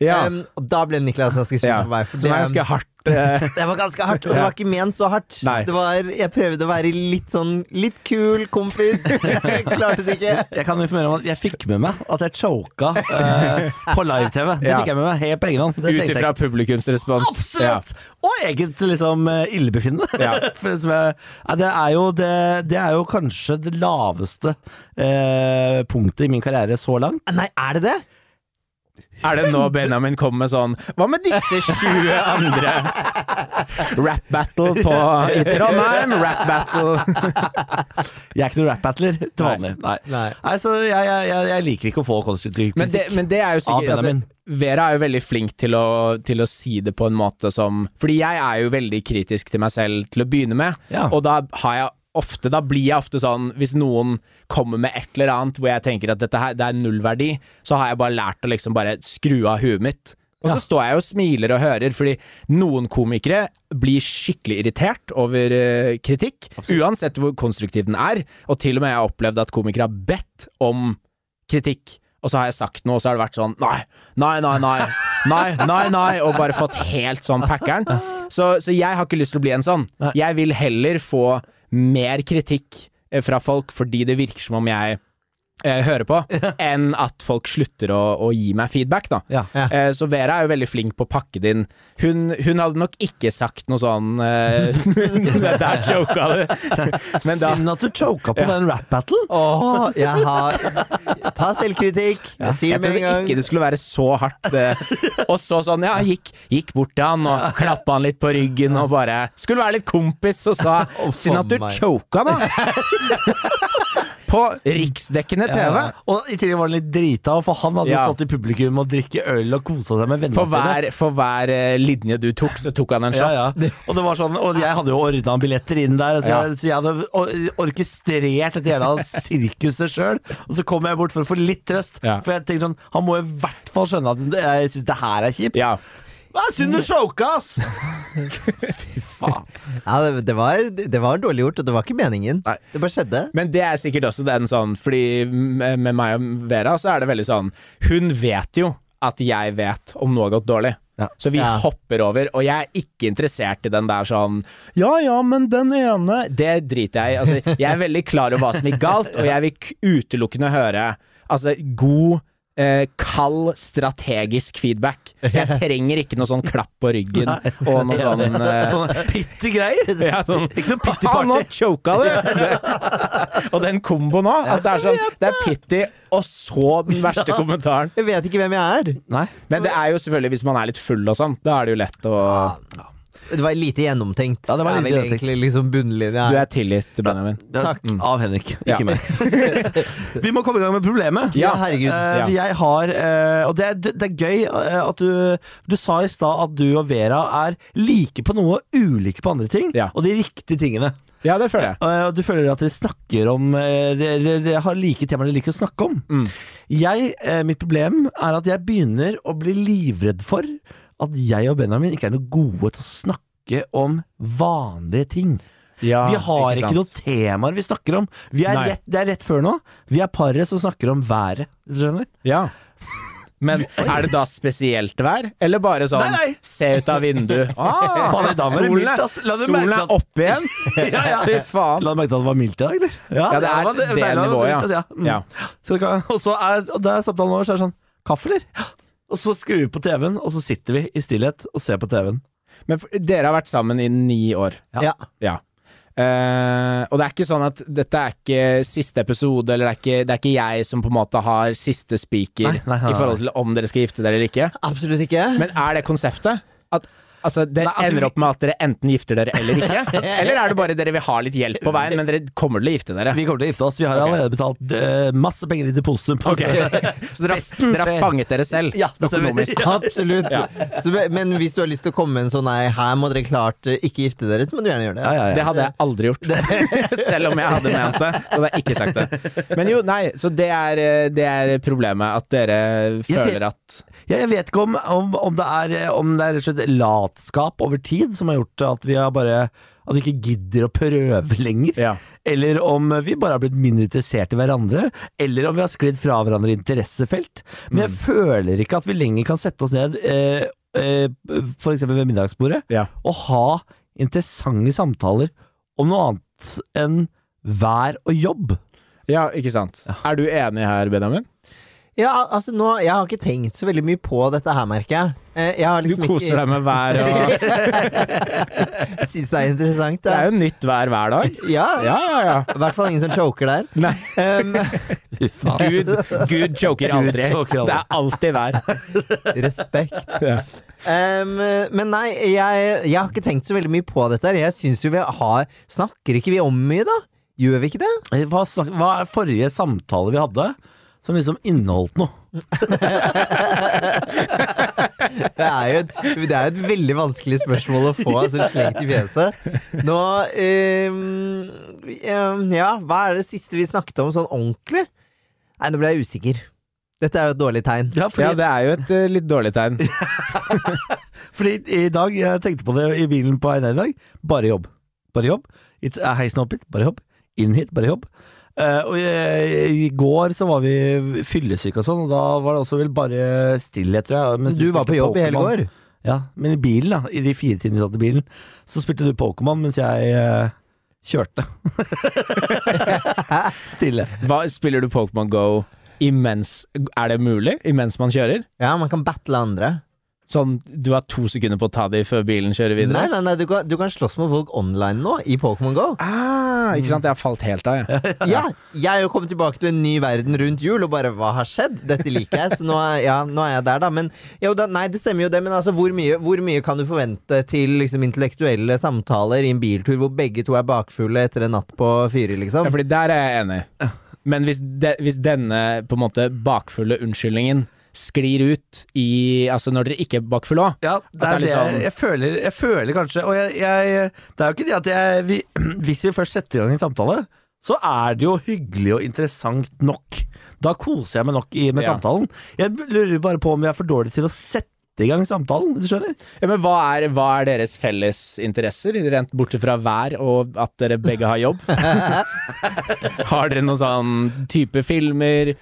S4: Ja.
S2: Em, og da ble Niklas ganske sur
S4: ja.
S2: på meg. For
S4: Som er ganske hardt. eh,
S2: det var ganske hardt, og det
S4: Ja.
S2: var ikke ment så hardt.
S4: Nei.
S2: Det var, jeg prøvde å være litt sånn litt kul kompis. Klarte det ikke.
S1: Jeg kan informere om at jeg fikk med meg at jeg choka eh, på live-TV. Det
S4: Ja.
S1: fikk jeg med meg helt på egen hånd. Det
S4: Ut
S1: tenkte jeg
S4: ifra publikumsrespons.
S1: Absolutt! Og eget liksom eh, illebefinnende.
S4: Ja.
S1: For det, som er, Nei, det, er jo det, det er jo kanskje det laveste eh, punktet i min karriere så langt.
S2: Nei, er det det?
S4: Ja. Er det nå Benjamin kommer med sånn Hva med disse 20 andre? Rap battle på, i Trondheim, rap battle
S1: Jeg er ikke noen rap-battler til
S4: Nei.
S1: vanlig. Nei. Nei.
S2: Nei.
S1: så jeg, jeg, jeg, jeg liker ikke å få konstruktiv
S4: Men det,
S1: kritikk.
S4: men det er jo sikkert
S1: Ah,
S4: altså,
S1: Benjamin.
S4: Vera er jo veldig flink til å, til å si det på en måte som Fordi jeg er jo veldig kritisk til meg selv til å begynne med,
S1: Ja.
S4: og da har jeg ofte Da blir jeg ofte sånn Hvis noen kommer med et eller annet hvor jeg tenker at dette her, det er nullverdi, så har jeg bare lært å liksom bare skru av huet mitt. Og så står jeg og smiler og hører, fordi noen komikere blir skikkelig irritert over eh, kritikk, uansett hvor konstruktiv den er, og til og med jeg har opplevd at komikere har bedt om kritikk, og så har jeg sagt noe, og så har det vært sånn nei, nei, nei, nei, nei, nei, nei, og bare fått helt sånn packeren. Så, så jeg har ikke lyst til å bli en sånn.
S1: Nei.
S4: Jeg vil heller få mer kritikk eh, fra folk fordi det virker som om jeg eh, hører på, enn at folk slutter å, å gi meg feedback, da.
S1: Ja.
S4: Eh, så Vera er jo veldig flink på å pakke det inn. Hun, hun hadde nok ikke sagt noe sånn eh, Dette er joka du. Men da
S1: Synd at du choka på den rap-battlen.
S2: Åh, jeg har Ta selvkritikk. Jeg sier
S4: Jeg
S2: det med
S4: trodde
S2: en
S4: ikke
S2: gang.
S4: det skulle være så hardt. Det. Og så sånn, ja, gikk, gikk bort til han og klappa han litt på ryggen og bare Skulle være litt kompis og sa Synd at du
S2: meg.
S4: choka, da! På riksdekkende TV.
S1: Og i tillegg var han litt drita, for han hadde jo
S4: Ja.
S1: stått i publikum og drikke øl og kosa seg med vennene
S4: For hver, for hver eh, linje du tok, så tok han en
S1: Ja,
S4: shot.
S1: ja. Og, det var sånn, og jeg hadde jo ordna billetter inn der, så jeg,
S4: Ja.
S1: så jeg hadde or- orkestrert dette hele sirkuset sjøl. Og så kom jeg bort for å få litt trøst,
S4: Ja.
S1: for jeg tenkte sånn Han må i hvert fall skjønne at jeg syns det her er kjipt.
S4: Ja.
S1: Hva er synd du choka, ass! Fy faen.
S2: Ja, det, det, var, det var dårlig gjort, og det var ikke meningen.
S1: Nei.
S2: Det bare skjedde.
S4: Men det er sikkert også den sånn Fordi med med meg og Vera så er det veldig sånn Hun vet jo at jeg vet om noe har gått dårlig
S1: Ja.
S4: Så vi
S2: Ja.
S4: hopper over Og jeg er ikke interessert i den der sånn Ja, ja, men den ene Det driter jeg i altså, Jeg er veldig klar over hva som gikk galt Og jeg vil k- utelukkende høre Altså, god eh, kald strategisk feedback Jeg trenger ikke noe sånn klapp på ryggen Og noe sånn eh,
S1: Sånne bitte greier.
S4: ja, sånn
S1: Ikke noe pitty
S4: Faen, nå
S1: party.
S4: choka du! og den komboen òg. At det er sånn Det er pitty, og så den verste kommentaren.
S2: Jeg vet ikke hvem jeg er.
S1: Nei.
S4: Men det er jo selvfølgelig hvis man er litt full og sånn. Da er det jo lett å
S2: Det var lite gjennomtenkt.
S1: Ja, det var lite
S2: er vel
S1: gjennomtenkt.
S2: egentlig liksom bunnlinja.
S4: Du
S2: her.
S4: er tilgitt, Benjamin.
S1: Takk. Av Henrik, ikke
S4: Ja.
S1: meg. Mm. Vi må komme i gang med problemet.
S2: Ja, herregud.
S1: Eh,
S4: Ja.
S1: Jeg har eh, Og det er, det er gøy eh, at du Du sa i stad at du og Vera er like på noe og ulike på andre ting,
S4: Ja.
S1: og de riktige tingene.
S4: Ja, det føler jeg.
S1: Eh, Og du føler at dere snakker om eh, Dere dere har like temaer dere liker å snakke om. Jeg, eh, mitt problem er at jeg begynner å bli livredd for at jeg og Benjamin ikke er noe gode til å snakke om vanlige ting.
S4: Ja,
S1: Vi har ikke,
S4: Ah, sant?
S1: noen temaer vi snakker om. Vi er
S4: Nei.
S1: rett, det er rett før nå. Vi er paret som snakker om været. Hvis du skjønner?
S4: Ja. Men er det da spesielt vær, eller bare sånn
S1: Nei, nei.
S4: se ut av vinduet ah,
S1: Faen, i dag var det
S4: solen,
S1: mildt,
S4: er,
S1: ass. La du merke
S4: solen
S1: at-
S4: er oppe igjen!
S1: Ja, ja.
S4: Fy faen.
S1: La du merke til at det var mildt i dag, eller?
S4: Ja, det er
S1: var
S4: det
S1: deilig at det var
S4: nivået, ja.
S1: mildt, altså, Mm.
S4: Ja.
S1: Så det kan- og så er, og da er samtalen over, så er det sånn Kaffe, eller? Ja. Og så skrur vi på TV-en, og så sitter vi i stillhet og ser på TV-en.
S4: Men f- dere har vært sammen i ni år.
S1: Ja.
S2: Ja.
S4: Ja. Eh, og det er ikke sånn at dette er ikke siste episode, eller det er ikke, det er ikke jeg som på en måte har siste spiker
S1: Nei, nei, nei,
S4: i forhold til om dere skal gifte dere eller ikke.
S2: Absolutt ikke.
S4: Men er det konseptet? At altså, dere
S1: Nei, altså, vi-
S4: ender opp med at dere enten gifter dere eller ikke? eller er det bare dere vil ha litt hjelp på veien, men dere kommer til å gifte dere?
S1: Vi kommer til å gifte oss. Vi har allerede betalt eh, masse penger i depositum. på-
S4: Så dere, har- dere har fanget dere selv
S1: Ja, det stemmer.
S4: økonomisk?
S2: Absolutt. Så, men hvis du har lyst til å komme med en sånn nei, her må dere klart eh, ikke gifte dere, så må du gjerne gjøre det.
S1: Ja, ja, ja.
S4: Det hadde jeg aldri gjort. Selv om jeg hadde ment det, så hadde jeg ikke sagt det. Men jo, nei, så det er, eh, det er problemet. At dere føler at
S1: Ja, jeg vet ikke om, om, om det er, om det er rett og slett latskap over tid som har gjort at vi har bare at vi ikke gidder å prøve lenger.
S4: Ja.
S1: Eller om vi bare har blitt mindre interessert i hverandre. Eller om vi har sklidd fra hverandre i interessefelt. Men jeg føler ikke at vi lenger kan sette oss ned, eh, eh, f.eks. ved middagsbordet,
S4: Ja.
S1: og ha interessante samtaler om noe annet enn vær og jobb.
S4: Ja, ikke sant. Er du enig her, Benjamin?
S2: Ja, altså nå, Jeg har ikke tenkt så veldig mye på dette her, merker jeg. Eh, Jeg har
S4: Du
S2: liksom
S4: koser
S2: ikke
S4: deg med vær og
S2: Jeg syns det er interessant.
S4: Det
S2: Det
S4: er jo nytt vær hver dag.
S2: ja,
S4: Ja, ja, ja.
S2: I hvert fall ingen som choker der.
S4: Nei.
S2: Um,
S4: Gud, Gud joker aldri.
S1: joker aldri.
S4: Det er alltid vær.
S2: respekt.
S4: Ja.
S2: Um, men nei, jeg, jeg har ikke tenkt så veldig mye på dette. her Jeg synes jo vi har Snakker ikke vi om mye, da? Gjør vi ikke det?
S1: Eh, Hva, snak- hva er forrige samtale vi hadde som liksom inneholdt noe?
S2: Det er jo et, det er et veldig vanskelig spørsmål å få altså, slengt i fjeset. Nå ehm, ehm, Ja, hva er det siste vi snakket om sånn ordentlig? Nei, nå ble jeg usikker. Dette er jo et dårlig tegn.
S1: Ja, fordi,
S4: ja, det er jo et eh, litt dårlig tegn.
S1: fordi i dag, jeg tenkte på det i bilen på vei ned i dag, bare jobb. Bare jobb. I t- eh, Heisen opp hit, bare jobb. Inn hit, bare jobb. Eh, og i, I går så var vi fyllesyke og sånn, og da var det også vel bare stillhet, tror jeg. mens
S2: Du var på
S1: spilte
S2: jobb i hele
S1: Pokémon.
S2: går.
S1: Ja, men i bilen, da. I de fire timene vi satt i bilen, så spilte du Pokémon mens jeg eh, kjørte. Stille.
S4: Hva, spiller du Pokémon Go imens Er det mulig? Imens man kjører?
S2: Ja, man kan battle andre.
S4: Sånn, du har to sekunder på å ta de før bilen kjører videre?
S2: Nei, nei, nei, du kan, du kan slåss mot folk online nå, i Pokémon GO.
S4: Ah, ikke sant? Jeg har falt helt av, jeg.
S2: Ja, jeg er jo kommet tilbake til en ny verden rundt jul, og bare hva har skjedd? Dette liker jeg, så nå er, ja, nå er jeg der, da. Men jo, da, nei, det stemmer jo det, men altså, hvor mye, hvor mye kan du forvente til liksom, intellektuelle samtaler i en biltur hvor begge to er bakfulle etter en natt på fire,
S4: Ja,
S2: liksom?
S4: fordi der er jeg enig. Men hvis, de, hvis denne på en måte bakfulle unnskyldningen sklir ut i Altså når dere ikke er bakfulle òg.
S1: Ja, det
S4: At
S1: er det
S4: det er liksom-
S1: jeg, jeg, føler, jeg føler kanskje Og jeg, jeg, det er jo ikke det at jeg vi, Hvis vi først setter i gang en samtale, så er det jo hyggelig og interessant nok. Da koser jeg meg nok i, med
S4: Ja.
S1: samtalen. Jeg lurer bare på om jeg er for dårlig til å sette i gang samtalen, hvis du skjønner?
S4: Ja, men hva er, hva er deres felles interesser, rent bortsett fra vær og at dere begge har jobb? har dere noen sånn type filmer,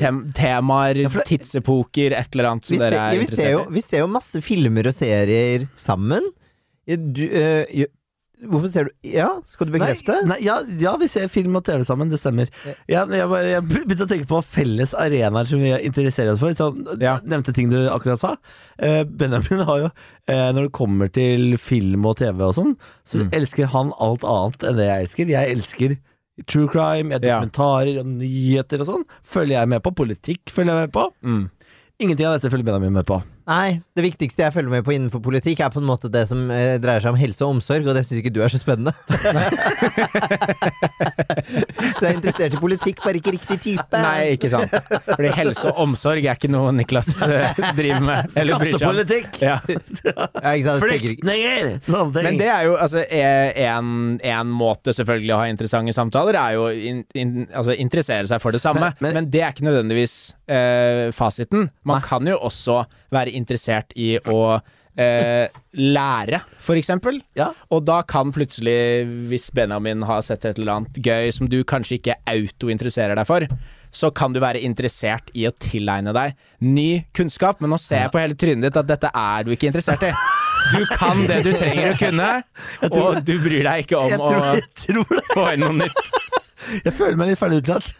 S4: tem temaer, tidsepoker, et eller annet
S2: Vi
S4: som
S2: ser,
S4: dere er
S2: vi, ser jo,
S4: interessert i?
S2: vi ser jo masse filmer og serier sammen. Ja, Du, øh, jo- hvorfor ser du Ja, skal du bekrefte?
S1: Nei, nei, ja, ja, vi ser film og TV sammen, det stemmer. Jeg, jeg, bare, jeg begynte å tenke på felles arenaer som vi interesserer oss for. Sånn,
S4: Ja.
S1: Nevnte ting du akkurat sa. Eh, Benjamin har jo, eh, når det kommer til film og TV og sånn, så
S4: Mm.
S1: elsker han alt annet enn det jeg elsker. Jeg elsker true crime, jeg
S4: Ja.
S1: dokumentarer og nyheter og sånn. Følger jeg med på. Politikk følger jeg med på.
S4: Mm.
S1: Ingenting av dette følger Benjamin med på.
S2: Nei, det viktigste jeg følger med på innenfor politikk, er på en måte det som eh, dreier seg om helse og omsorg, og det syns ikke du er så spennende. så jeg er interessert i politikk, bare ikke riktig type.
S4: Nei, ikke sant. Fordi helse og omsorg er ikke noe Niklas eh, driver med. Eller bryr seg om.
S1: Skattepolitikk!
S4: Ja.
S2: Ja, ikke sant? Tenker ikke-
S1: Flyktninger! Sånne ting.
S4: Men det er jo altså én måte selvfølgelig å ha interessante samtaler, er jo å in, in, altså, interessere seg for det samme. Men,
S1: Men- men-
S4: det er ikke nødvendigvis eh, fasiten. Man kan jo også være interessert i å eh, lære, for eksempel.
S1: Ja.
S4: Og da kan plutselig, hvis Benjamin har sett et eller annet gøy som du kanskje ikke autointeresserer deg for, så kan du være interessert i å tilegne deg ny kunnskap, men nå ser jeg på hele trynet ditt at dette er du ikke interessert i. Du kan det du trenger å kunne, og du bryr deg ikke
S1: jeg
S4: om å
S1: tror, jeg tror det.
S4: få inn noe nytt.
S1: Jeg føler meg litt ferdig utlært.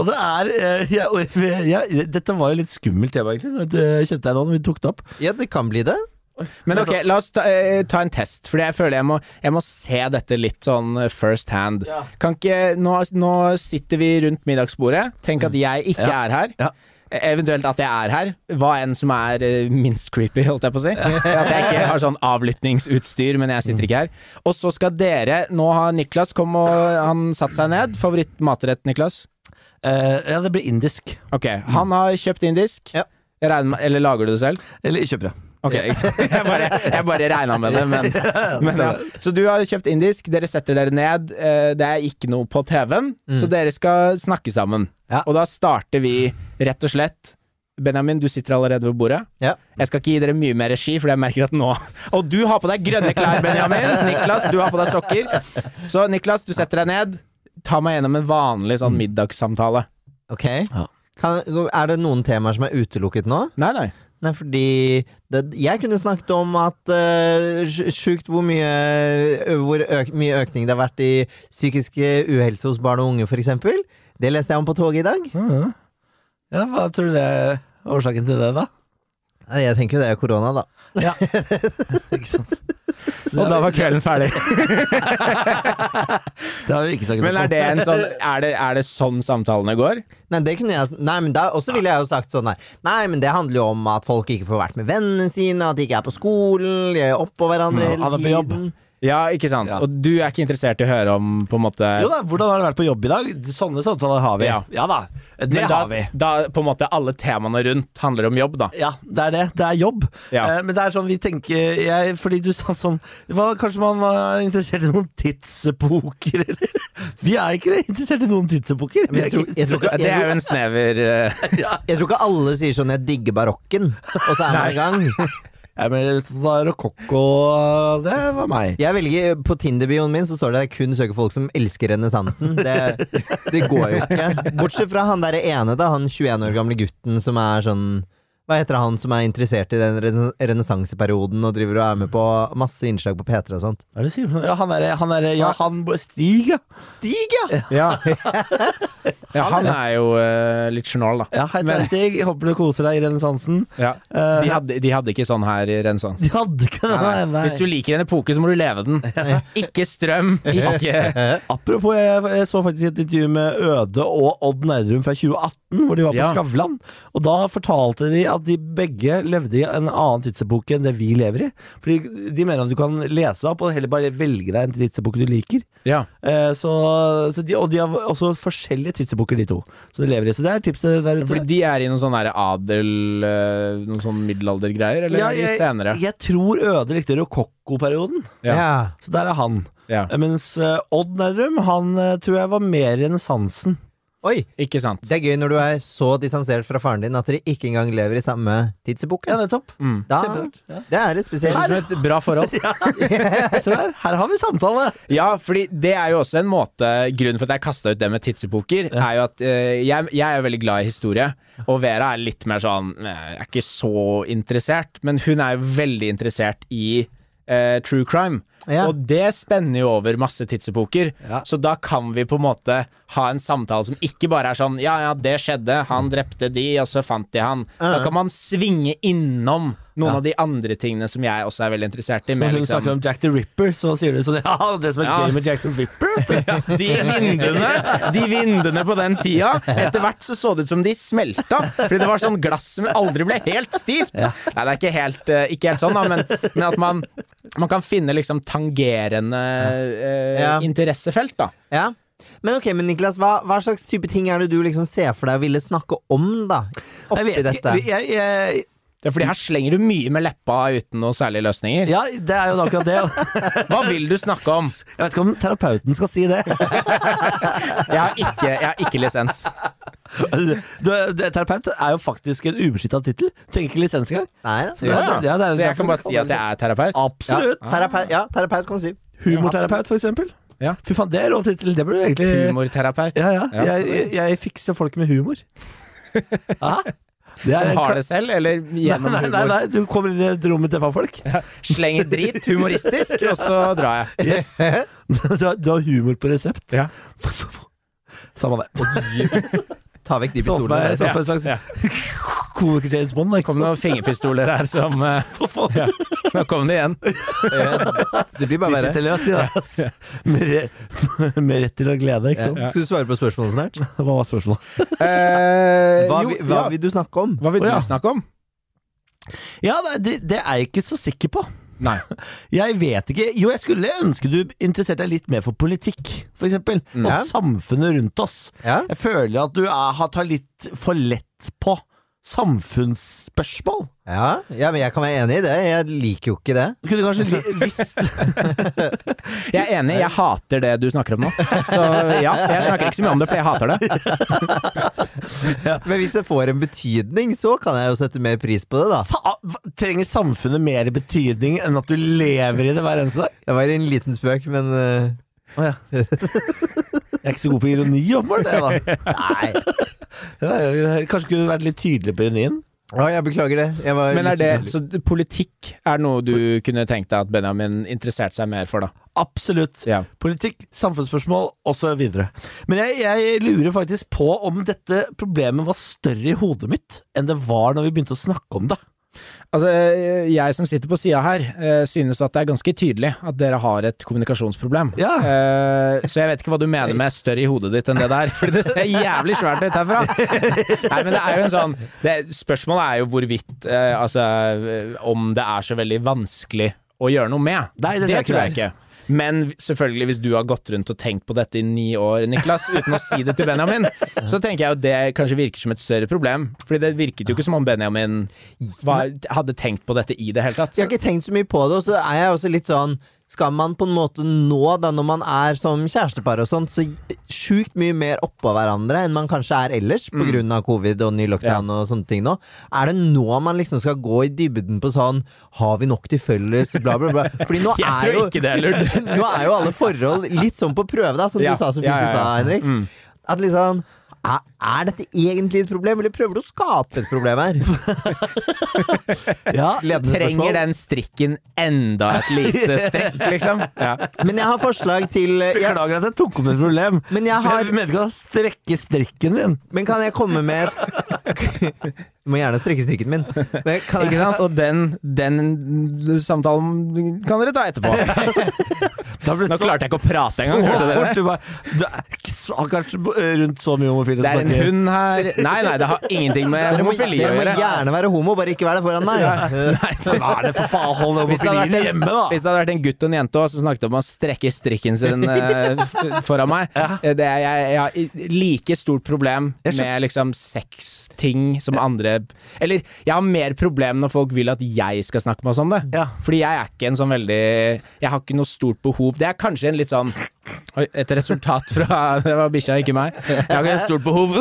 S1: og det er eh, jeg, og jeg, jeg, Dette var jo litt skummelt tema, egentlig. Det kjente jeg nå når vi tok det opp.
S2: Ja, det kan bli det.
S4: Men ok, la oss ta, eh, ta en test, for jeg føler jeg må, jeg må se dette litt sånn eh, first hand. Kan ikke, nå, nå sitter vi rundt middagsbordet, tenk at jeg ikke er her.
S1: Mm. Ja.
S4: Eh, Eventuelt at jeg er her, hva enn som er eh, minst creepy, holdt jeg på å si. At jeg ikke har sånn avlyttingsutstyr, men jeg
S1: Mm.
S4: sitter ikke her. Og så skal dere, nå har Niklas kom og han satt seg ned, favorittmatrett Niklas?
S1: Eh, ja, det blir indisk.
S4: Ok, han har kjøpt indisk.
S2: Ja.
S4: Jeg regner med, eller lager du det selv?
S1: Eller kjøper jeg.
S4: Ok, jeg bare, jeg bare regna med det, men, men ja. Så du har kjøpt indisk, dere setter dere ned. eh, Det er ikke noe på TV-en, så dere skal snakke sammen.
S2: Ja.
S4: Og da starter vi rett og slett Benjamin, du sitter allerede ved bordet.
S2: Ja.
S4: Jeg skal ikke gi dere mye mer regi, for jeg merker at nå Og du har på deg grønne klær, Benjamin! Niklas, du har på deg sokker. Så Niklas, du setter deg ned. Ta meg gjennom en vanlig sånn middagssamtale.
S2: Ok.
S1: Ja.
S2: Kan, er det noen temaer som er utelukket nå?
S4: Nei, nei.
S2: Nei, fordi det, Jeg kunne snakket om at eh, sj- sjukt hvor mye, hvor øk, mye økning det har vært i psykisk eh, uhelse hos barn og unge, f.eks. Det leste jeg om på toget i dag.
S1: Mhm. Ja, hva tror du det er årsaken til det, da?
S2: Nei, Jeg tenker jo det er korona, da.
S1: Ja. ikke sant.
S4: Og da var kvelden ferdig.
S1: Det har vi ikke snakket
S4: Men er
S1: om.
S4: det, en sånn, er det, er det sånn samtalene går?
S2: Nei, det kunne jeg Nei, men da også ville jeg jo sagt sånn her Nei, men det handler jo om at folk ikke får vært med vennene sine, at de ikke er på skolen, de er oppå hverandre
S1: Ja,
S2: hele
S1: alle på jobb.
S2: tiden.
S4: Ja, ikke sant?
S1: Ja.
S4: Og du er ikke interessert i å høre om på en måte
S1: Jo da, hvordan har det vært på jobb i dag? Sånne samtaler har vi.
S4: Ja.
S1: da, det
S4: Men da,
S1: har vi.
S4: da på en måte alle temaene rundt handler om jobb, da.
S1: Ja, det er det. Det er jobb.
S4: Ja.
S1: Eh, men det er sånn vi tenker jeg, Fordi du sa sånn hva, Kanskje man er interessert i noen tidsepoker, eller? Vi er ikke interessert i noen tidsepoker. Vi
S2: Men
S1: er
S2: jeg tror,
S1: ikke-
S2: jeg, tror ikke, jeg,
S4: Det er jo
S2: tror,
S4: en snever eh,
S2: jeg tror ikke alle sier sånn 'jeg digger barokken', og så er man i gang.
S1: Ja, men da Rokokko eh, Det var meg.
S2: Jeg velger, På Tinder-bioen min så står det at jeg kun søker folk som elsker renessansen. Det, det går jo ikke. Bortsett fra han derre ene, da. Han 21 år gamle gutten som er sånn Hva heter han som er interessert i den rene- renessanseperioden og driver og er med på masse innslag på P3 og sånt?
S1: Hva er det du sier? Ja, han er, han er Ja, han bo- Stig, ja.
S2: Stig, ja!
S4: ja. ja, han er jo eh, litt sjenal, da.
S1: ja hei, det er Stig. Jeg håper du koser deg i renessansen.
S4: Ja.
S1: Eh,
S4: De, hadde, de hadde ikke sånn her i renessansen.
S1: de hadde ikke det.
S4: Nei,
S1: Nei,
S4: nei.
S1: nei.
S4: Hvis du liker en epoke, så må du leve den. Ikke strøm, ikke
S1: Eh, Apropos, jeg, jeg så faktisk et intervju med Øde og Odd Nerdrum fra 2018, hvor de var på
S4: Ja.
S1: Skavlan. Og da fortalte de at de begge levde i en annen tidsepoke enn det vi lever i. Fordi de mener at du kan lese opp og heller bare velge deg en tidsepoke du liker.
S4: Ja.
S1: Eh, så, så de, og de har også forskjellige tidsepoker, de to. Så de lever i. Så det er tipset der ute.
S4: Fordi de er i noen sånn her adel eh, Noen sånn middelaldergreier, eller
S1: Ja,
S4: er de senere?
S1: jeg tror Øde likte rokokkoperioden,
S4: Ja.
S1: så der er han.
S4: Ja.
S1: Eh, Mens eh, Odd Nerdrum, han eh, tror jeg var mer i renessansen.
S2: Oi!
S4: Ikke sant.
S2: Det er gøy når du er så distansert fra faren din at dere ikke engang lever i samme tidsepoke.
S1: Ja, nettopp.
S4: Mm.
S2: Da,
S1: kjemperart. Ja.
S2: det er litt
S4: Det
S2: spesielt.
S4: er et bra forhold.
S1: Se der, her har vi samtale!
S4: Ja, fordi det er jo også en måte Grunnen for at jeg kasta ut det med tidsepoker, er jo at eh, jeg, jeg er jo veldig glad i historie. Og Vera er litt mer sånn eh, Jeg er ikke så interessert, men hun er jo veldig interessert i eh, true crime.
S2: Ja.
S4: Og det spenner jo over masse tidsepoker.
S1: Ja.
S4: Så da kan vi på en måte ha en samtale som ikke bare er sånn Ja, ja, det skjedde, han drepte de, og så fant de han. Da kan man svinge innom noen av de andre tingene som jeg også er veldig interessert i.
S1: Så
S4: med
S1: når hun
S4: liksom-
S1: snakker om Jack the Ripper, så sier du sånn Ja, det som er
S4: Ja.
S1: gøy med Jack the Ripper, vet du.
S4: De vindene, de vindene på den tida Etter hvert så så det ut som de smelta Fordi det var sånn glass som aldri ble helt stivt Nei, det er ikke helt, eh, ikke helt sånn da Men, men at man, man kan finne liksom tangerende eh,
S2: Ja.
S4: interessefelt da
S2: Ja. Men ok, men Niklas, hva, hva slags type ting er det du liksom ser for deg ville snakke om, da?
S1: Jeg
S2: Oppi
S1: vet
S2: dette.
S1: ikke. Jeg, jeg,
S4: Det er fordi her slenger du mye med leppa uten noen særlige løsninger
S1: ja, det er jo akkurat det.
S4: Hva vil du snakke om?
S1: Jeg vet ikke om terapeuten skal si det.
S4: Jeg har ikke, jeg har ikke lisens
S1: Du, det, terapeut er jo faktisk en ubeskytta tittel. Trenger ikke lisens engang.
S2: Nei,
S1: Ja,
S2: da.
S1: det- ja, det er-
S4: Så jeg kan bare si at jeg er terapeut
S1: Absolutt!
S2: Ja, terapeut, ja, terapeut kan du si.
S1: Humorterapeut, for eksempel.
S4: Ja.
S1: Fy faen, det er rå tittel. Det burde du egentlig
S4: Humorterapeut
S1: Ja, ja.
S4: Ja.
S1: Jeg, jeg, jeg fikser folk med humor. Ja. Det
S4: Som
S1: en
S4: har
S1: ka-
S4: det selv, eller gjennom
S1: nei, nei, nei,
S4: humor
S1: nei, du kommer inn i et rom med deppa folk.
S4: Slenger drit, humoristisk, og så drar jeg
S1: Yes. Du har, du har humor på resept.
S4: Ja.
S1: Samme det.
S2: Ta vekk de
S1: Så for meg
S2: pistolene.
S1: så for en slags
S4: Ja.
S1: komiker James Bond.
S4: kom noen fingerpistoler her som eh, ja. Nå kom det igjen.
S2: Det blir bare
S1: Sitter løst i det. Med, re- med rett til å glede, ikke sant.
S2: Skal du svare på spørsmålet snart?
S1: Hva var spørsmålet?
S2: Hva,
S4: hva,
S2: vi- hva vil du snakke om?
S4: vil
S1: Å, ja.
S4: du snakke om?
S1: Ja, nei, det, det er jeg ikke så sikker på.
S4: Nei.
S1: Jeg vet ikke. Jo, jeg skulle ønske du interesserte deg litt mer for politikk, for eksempel. Og
S2: Ja.
S1: samfunnet rundt oss.
S2: Ja.
S1: Jeg føler at du er, har tar litt for lett på samfunnsspørsmål.
S2: Ja, ja, men jeg kan være enig i det. Jeg liker jo ikke det.
S1: Du kunne kanskje li visst
S4: Jeg er enig, jeg hater det du snakker om nå. Så ja, jeg snakker ikke så mye om det, for jeg hater det.
S2: Men hvis det får en betydning, så kan jeg jo sette mer pris på det, da.
S1: sa ah, hva- Trenger samfunnet mer betydning enn at du lever i det hver eneste dag?
S2: Det var en liten spøk, men eh,
S1: Å ja. Jeg er ikke så god på ironi, åpenbart. jeg, da.
S2: Nei.
S1: Ja, jeg- Kanskje kunne du vært litt tydelig på ironien?
S2: Å, jeg beklager det. Jeg var
S4: Men
S2: litt
S4: er det,
S2: utydelig.
S4: så politikk er noe du kunne tenkt deg at Benjamin interesserte seg mer for, da?
S1: Absolutt.
S4: Ja.
S1: Politikk, samfunnsspørsmål osv. Men jeg, jeg lurer faktisk på om dette problemet var større i hodet mitt enn det var når vi begynte å snakke om det.
S4: Altså, eh, jeg som sitter på sida her, eh, synes at det er ganske tydelig at dere har et kommunikasjonsproblem.
S1: Ja.
S4: Eh, Så jeg vet ikke hva du mener med større i hodet ditt enn det der, for det ser jævlig svært ut herfra. Nei, men det er jo en sånn det, Spørsmålet er jo hvorvidt eh, Altså, eh, om det er så veldig vanskelig å gjøre noe med.
S1: Nei, det tror jeg ikke
S4: tror jeg ikke. Men selvfølgelig, hvis du har gått rundt og tenkt på dette i ni år, Niklas, uten å si det til Benjamin, så tenker jeg jo det kanskje virker som et større problem. Fordi det virket jo ikke som om Benjamin var, hadde tenkt på dette i det hele tatt.
S2: Jeg har ikke tenkt så mye på det, og så er jeg også litt sånn Skal man på en måte nå, da når man er som kjærestepar og sånt, så sjukt mye mer oppå hverandre enn man kanskje er ellers, på grunn av covid og ny lockdown og sånne ting nå. Er det nå man liksom skal gå i dybden på sånn Har vi nok til felles? Bla, bla, bla. Fordi nå
S4: Jeg
S2: er
S4: tror
S2: jo
S4: ikke det er lurt.
S2: Nå er jo alle forhold litt sånn på prøve, da, som
S4: Ja,
S2: du sa så fint
S4: ja,
S2: i
S4: ja,
S2: stad,
S4: ja.
S2: Henrik. At liksom er, er dette egentlig et problem, eller prøver du å skape et problem her?
S1: Ja,
S2: Ledende spørsmål.
S4: Trenger den strikken enda et lite strekk, liksom? Ja.
S2: Men jeg har forslag til eh, jeg,
S1: Beklager at jeg tok opp et problem,
S2: Men jeg har-
S1: mente ikke å strekke strikken din.
S2: Men kan jeg komme med et Du må gjerne strekke strikken min. Men kan
S4: Ikke
S2: jeg,
S4: sant? Og den, den samtalen kan dere ta etterpå.
S1: Da ble
S4: Nå klarte jeg ikke å prate engang, hørte dere det?
S1: Du bare, du er ikke så- kanskje rundt så mye homofile
S4: Det er en
S1: snakker.
S4: hund her Nei, nei, det har ingenting med
S2: dere, må,
S4: homofili å
S2: dere må
S4: gjøre.
S2: gjerne være homo, bare ikke vær det foran meg.
S1: Hva er det for faen? Hold
S4: Hvis det, hadde
S1: homofilien
S4: vært en,
S1: hjemme, da!
S4: hvis det hadde vært en gutt og en jente også, som snakket om å strekke strikken sin eh, f- foran meg eh, det er, jeg, jeg har i- like stort problem med liksom sexting som andre Eller jeg har mer problem når folk vil at jeg skal snakke med oss om det.
S1: Ja.
S4: Fordi jeg er ikke en sånn veldig Jeg har ikke noe stort behov. Det er kanskje en litt sånn Oi, et resultat fra Det var bikkja, ikke meg. Jeg har ikke et stort behov.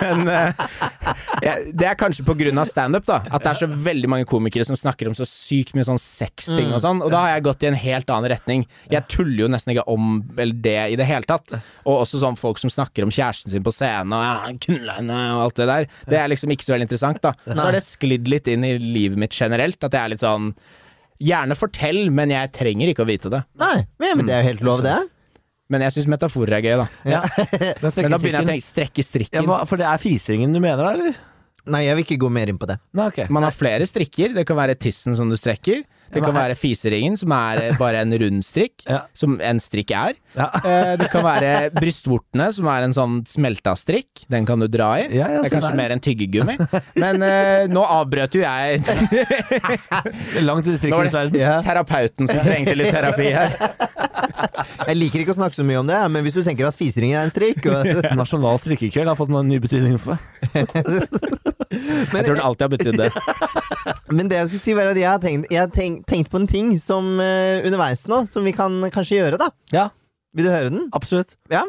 S4: Men eh, jeg- det er kanskje på grunn av standup, da. At det er så veldig mange komikere som snakker om så sykt mye sånn sexting og sånn. Og da har jeg gått i en helt annen retning. Jeg tuller jo nesten ikke om vel, det i det hele tatt. Og også sånn folk som snakker om kjæresten sin på scenen og ja, knulla henne og alt det der. Det er liksom ikke så veldig interessant, da. Så har det sklidd litt inn i livet mitt generelt, at jeg er litt sånn Gjerne fortell, men jeg trenger ikke å vite det.
S2: Nei, men, men det er jo helt lov, det.
S4: Men jeg syns metaforer er gøy, da.
S1: Mm. Ja. Men
S4: Men
S1: strekker
S4: da begynner jeg å
S1: strikken.
S4: tenke strekke
S1: Ja,
S4: strikken.
S1: hva, for det er fiseringen du mener, da, eller?
S2: Nei, jeg vil ikke gå mer inn på det.
S1: Nei, ok.
S4: Man har flere strikker. Det kan være tissen som du strekker. Det kan være fiseringen, som er eh, bare en rund strikk,
S1: Ja.
S4: som en strikk er.
S1: Ja.
S4: Eh, Det kan være brystvortene, som er en sånn smelta strikk. Den kan du dra i.
S1: Ja, ja, sånn
S4: det er kanskje
S1: er det.
S4: mer en tyggegummi. Men eh, nå avbrøt jo jeg
S1: Det er Langt i
S4: Nå var det-
S1: distriktenes verden.
S2: Ja.
S4: terapeuten som trengte litt terapi her.
S2: Jeg liker ikke å snakke så mye om det, men hvis du tenker at fiseringen er en strikk og,
S1: Nasjonal strikkekveld har fått noen ny betydning for meg.
S4: Jeg tror den alltid har betydd det.
S2: Men det jeg skulle si, var at jeg har tenkt, jeg har tenkt, tenkt på en ting som eh, underveis nå, som vi kan kanskje gjøre, da.
S1: Ja,
S2: Vil du høre den?
S1: absolutt.
S2: Ja.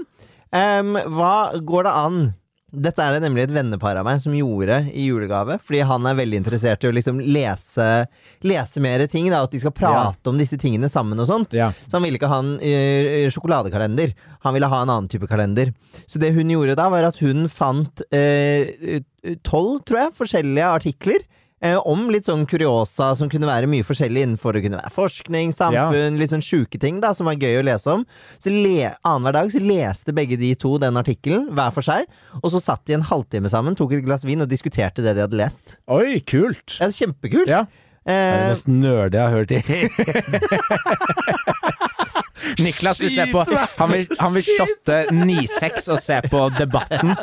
S2: Em, hva går det an? Dette er det nemlig et vennepar av meg som gjorde i julegave. Fordi han er veldig interessert i å liksom lese, lese mer ting. Da, at de skal prate om disse tingene sammen og sånt.
S4: Ja.
S2: Så han ville ikke ha en eh, sjokoladekalender. Han ville ha en annen type kalender. Så det hun gjorde da, var at hun fant eh, tolv, tror jeg, forskjellige artikler. eh, Om litt sånn kuriosa som kunne være mye forskjellig innenfor det kunne være forskning, samfunn, litt sånn sjuke ting da, som var gøy å lese om. Så le, Annenhver dag så leste begge de to den artikkelen hver for seg, og så satt de en halvtime sammen, tok et glass vin og diskuterte det de hadde lest.
S4: Oi, kult.
S2: Det er kjempekult!
S4: Ja.
S1: Det er det
S2: Eh,
S1: mest nerde jeg har hørt i
S4: Niklas vil se på Han vil, han vil shotte 9-6 og se på Debatten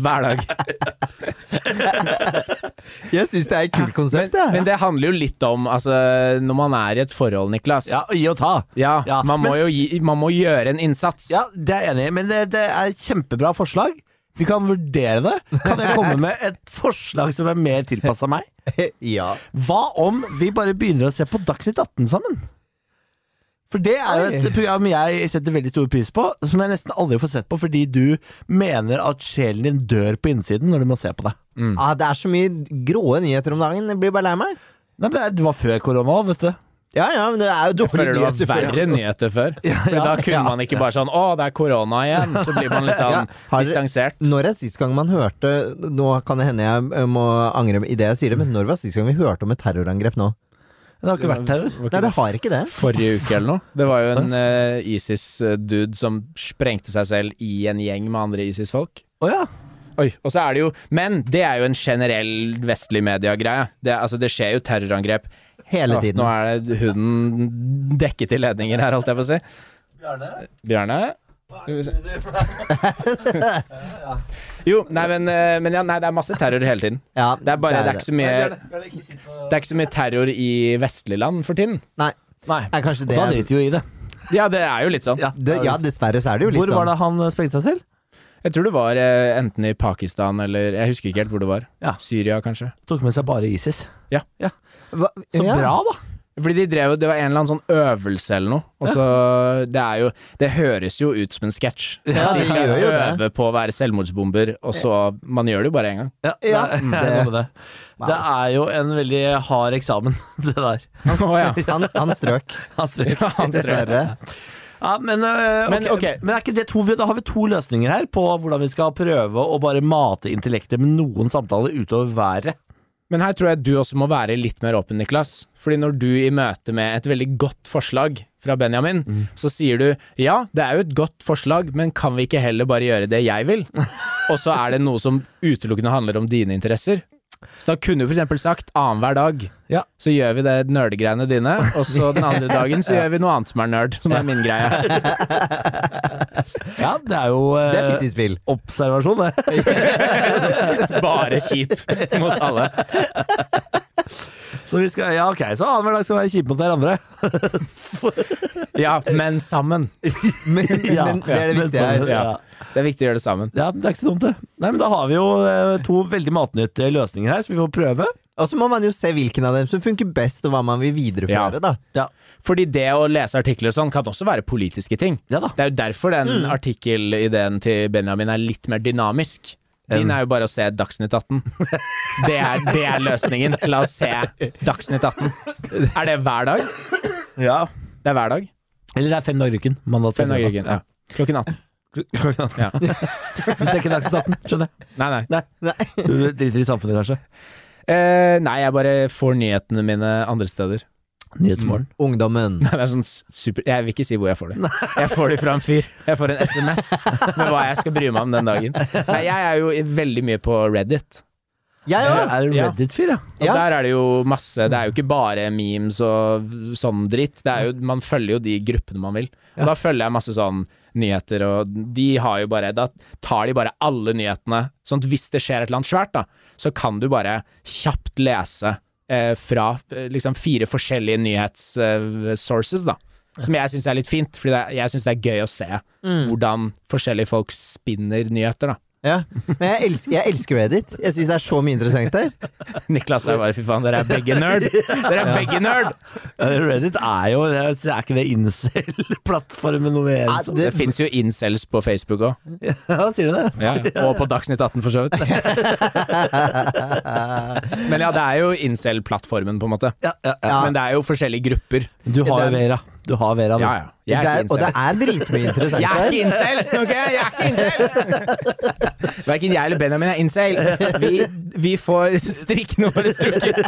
S4: hver dag.
S2: jeg syns det er et kult konsept. jeg.
S4: Men det handler jo litt om altså, når man er i et forhold, Niklas.
S1: Ja, å gi og ta.
S4: Ja,
S1: Ja,
S4: man må
S1: men-
S4: jo gi, man må gjøre en innsats.
S1: Ja, det er jeg enig i, men det, det er et kjempebra forslag. Vi kan vurdere det. Kan jeg komme med et forslag som er mer tilpassa meg?
S2: ja.
S1: Hva om vi bare begynner å se på Dagsnytt 18 sammen? For det er jo et program jeg setter veldig stor pris på, som jeg nesten aldri får sett på fordi du mener at sjelen din dør på innsiden når du må se på det.
S2: Ah, det er så mye gråe nyheter om dagen. Jeg blir bare lei meg.
S1: Nei, men det er- Det var før korona, vet du.
S2: Ja, ja, men det er jo
S4: Føler
S2: dårlige
S4: det var
S2: nyheter. for-
S4: verre nyheter før. For da kunne man ikke bare sånn 'Å, det er korona igjen'. Så blir man litt sånn
S2: Har dere-
S4: distansert.
S2: Når er sist gang man hørte Nå kan det hende jeg eh, må angre i det jeg sier det, men når var sist gang vi hørte om et terrorangrep nå?
S1: Det har ikke vært terror.
S4: Var ikke
S2: Nei, det har ikke det.
S4: Forrige uke eller noe. Det var jo en eh, ISIS-dude som sprengte seg selv i en gjeng med andre ISIS-folk.
S1: Å ja.
S4: Oi, og så er det jo Men det er jo en generell vestlig media-greie. Det, altså, det skjer jo terrorangrep
S2: Hele
S4: Å,
S2: tiden.
S4: Nå er det hunden dekket i ledninger her, holdt jeg på å si. Bjarne? Skal vi se. Jo, nei, men, eh, men ja, nei, det er masse terror hele tiden.
S2: Ja,
S4: Det er bare, det er ikke så mye Det er ikke så mye terror i vestlige land for tiden.
S2: Nei,
S1: Nei.
S2: er kanskje
S1: Og
S2: det
S1: da driter jo i det.
S4: Ja, det er jo litt sånn.
S1: Ja.
S2: det, Ja, dessverre så er det jo litt
S1: Hvor var
S2: sånn.
S1: det han eh, sprengte seg selv?
S4: Jeg tror det var eh, enten i Pakistan eller Jeg husker ikke helt hvor det var.
S1: Ja.
S4: Syria, kanskje.
S1: Tok med seg bare ISIS.
S2: Hva-
S1: Så
S2: ja.
S1: bra, da!
S4: Fordi de drev, jo- Det var en eller annen sånn øvelse eller noe. Og så Det er jo Det høres jo ut som en sketsj.
S2: Ja,
S4: De
S2: det
S4: skal
S2: gjør jo det.
S4: øve på å være selvmordsbomber, og så Man gjør det jo bare én gang.
S1: Ja,
S2: Ja.
S1: det, er- det, er noe med det. det er jo en veldig hard eksamen, det der.
S4: Å, ja.
S2: Han, han strøk,
S1: Altså,
S4: Han strør.
S2: dessverre.
S1: ja, men, øh,
S4: Men,
S1: ok,
S4: ok.
S1: men er ikke det to, da har vi to løsninger her på hvordan vi skal prøve å bare mate intellektet med noen samtaler utover været.
S4: Men her tror jeg du også må være litt mer åpen, Niklas. Fordi når du i møte med et veldig godt forslag fra Benjamin, så sier du ja, det er jo et godt forslag, men kan vi ikke heller bare gjøre det jeg vil? Og så er det noe som utelukkende handler om dine interesser. Så da kunne du f.eks. sagt annenhver dag
S1: Ja.
S4: så gjør vi det nerdegreiene dine, og så den andre dagen så gjør vi noe annet som er nerd, som er min greie.
S1: Ja, det er jo øh,
S2: Det er fint innspill.
S1: observasjon, det.
S4: Bare kjip mot alle.
S1: Så vi skal, ja, ok, så annenhver dag skal vi være kjipe mot hverandre.
S4: Ja, men sammen.
S2: Men,
S1: Ja,
S2: men det er det
S1: men
S2: viktige
S1: sånn,
S2: her.
S4: Ja.
S1: ja.
S4: Det er viktig å gjøre det sammen.
S1: Ja, det er ikke så dumt, det. Nei, men Da har vi jo øh, to veldig matnyttige løsninger her, så vi får prøve.
S2: Og så må man jo se hvilken av dem som funker best, og hva man vil
S4: Ja.
S2: videreføre, da.
S4: Fordi det å lese artikler og sånn kan også være politiske ting.
S1: Ja da.
S4: Det er jo derfor den artikkelideen til Benjamin er litt mer dynamisk. Din er jo bare å se Dagsnytt 18. Det er, det er løsningen. La oss se Dagsnytt 18. Er det hver dag?
S1: Ja.
S4: Det er hver dag.
S1: Eller det er fem dager i uken. Mandag til
S4: Fem dager i
S1: fredag.
S4: uken. Ja. Klokken 18.
S1: Ja. du ser ikke Dagsnytt 18, skjønner jeg.
S4: Nei, nei.
S1: Nei.
S2: Nei.
S1: Du driter i samfunnet, kanskje?
S4: Eh, nei, jeg bare får nyhetene mine andre steder.
S1: Nyhetsmorgen.
S2: Ungdommen.
S4: Det er sånn super Jeg vil ikke si hvor jeg får det. Jeg får det fra en fyr. Jeg får en SMS med hva jeg skal bry meg om den dagen. Nei, jeg er jo veldig mye på Reddit.
S2: Jeg
S1: Jeg
S2: òg!
S1: er en
S4: Mm. Ja.
S1: Reddit-fyr, ja.
S4: Og
S2: Ja.
S4: der er det jo masse Det er jo ikke bare memes og sånn dritt. Det er jo, man følger jo de gruppene man vil. Og da følger jeg masse sånn nyheter, og de har jo bare Da tar de bare alle nyhetene. Sånn at hvis det skjer et eller annet svært, da, så kan du bare kjapt lese eh, fra eh, liksom fire forskjellige nyhetssources, eh, sources, da. Som jeg syns er litt fint, for jeg syns det er gøy å se hvordan forskjellige folk spinner nyheter, da.
S2: Ja. Men jeg elsker, jeg elsker Reddit. Jeg syns det er så mye interessant der.
S4: Niklas er bare fy faen, dere er begge nerd! Dere er begge nerd!
S1: Reddit er jo Er ikke det incel-plattformen noe mer?
S2: Nei,
S1: enn som-
S4: Det fins jo incels på Facebook òg.
S1: Ja, sier du det?
S4: Og på Dagsnytt 18, for så vidt. Men ja, det er jo incel-plattformen, på en måte.
S1: Ja, ja, ja.
S2: Ja.
S4: Men det er jo forskjellige grupper.
S1: Du har jo Vera. Du har Vera nå.
S4: Ja, ja. Jeg
S2: det
S4: er
S2: er, og
S4: ikke
S2: det
S4: incel.
S2: er dritmye interessant
S4: Jeg er
S2: der.
S4: ikke incel! ok? Jeg er ikke incel! Verken jeg eller Benjamin er incel. Vi, vi får strikkene våre strukket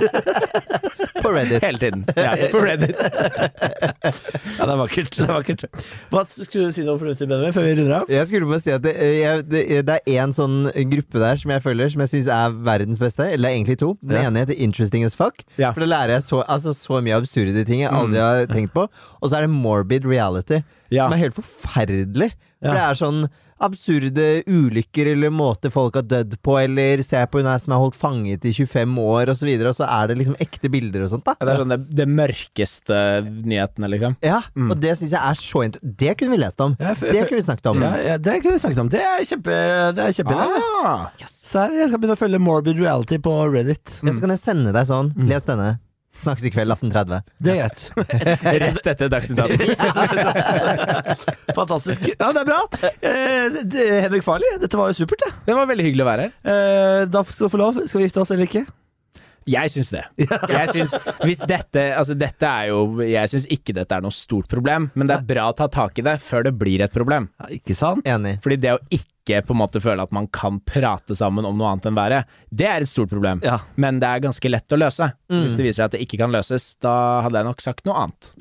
S2: På Reddit.
S4: hele tiden. Ja, på Reddit.
S1: Ja, det er vakkert. Det er vakkert. Hva skulle du si noe fornuftig, Benjamin, før vi runder av?
S2: Jeg skulle bare si at det, eh, jeg, det, det er én sånn gruppe der som jeg føler Som jeg syns er verdens beste. Eller det er egentlig to. Den
S1: Ja.
S2: ene heter Interesting as fuck.
S4: Ja. Mm.
S2: For da lærer jeg så, altså, så mye absurde ting jeg aldri har tenkt på. Og så er det Morbid Reality,
S4: Ja.
S2: som er helt forferdelig. For det er sånn absurde ulykker eller måter folk har dødd på, eller se på hun her som er holdt fanget i 25 år, og så videre, og så er det liksom ekte bilder og sånt, da.
S4: Ja, Det er sånn det, det mørkeste nyhetene, liksom.
S2: Ja, og det syns jeg er så interessant. Det kunne vi lest om.
S1: Ja, for-
S2: det kunne vi snakket om.
S1: Ja, ja, det kunne vi snakket om. Det er kjempe... Det er kjempe
S4: Ah.
S1: Serr, jeg skal begynne å følge Morbid Reality på Reddit.
S2: Ja, så kan jeg sende deg sånn. Les denne. Snakkes i kveld 18.30.
S1: Det er greit.
S4: Rett etter Dagsnytt 18.
S1: Fantastisk. Ja, det er bra. Eh, det- det- Henrik Farley, dette var jo supert, det.
S4: Det var veldig hyggelig å være her.
S1: Eh, da skal du få lov. Skal vi gifte oss eller ikke?
S4: Jeg syns det. Jeg syns, hvis dette, altså dette er jo, jeg syns ikke dette er noe stort problem, men det er bra å ta tak i det før det blir et problem.
S1: Ja, ikke sant?
S2: Enig.
S4: Fordi det å ikke på en måte føle at man kan prate sammen om noe annet enn været, det er et stort problem.
S1: Ja.
S4: Men det er ganske lett å løse. Hvis det viser seg at det ikke kan løses, da hadde jeg nok sagt noe annet.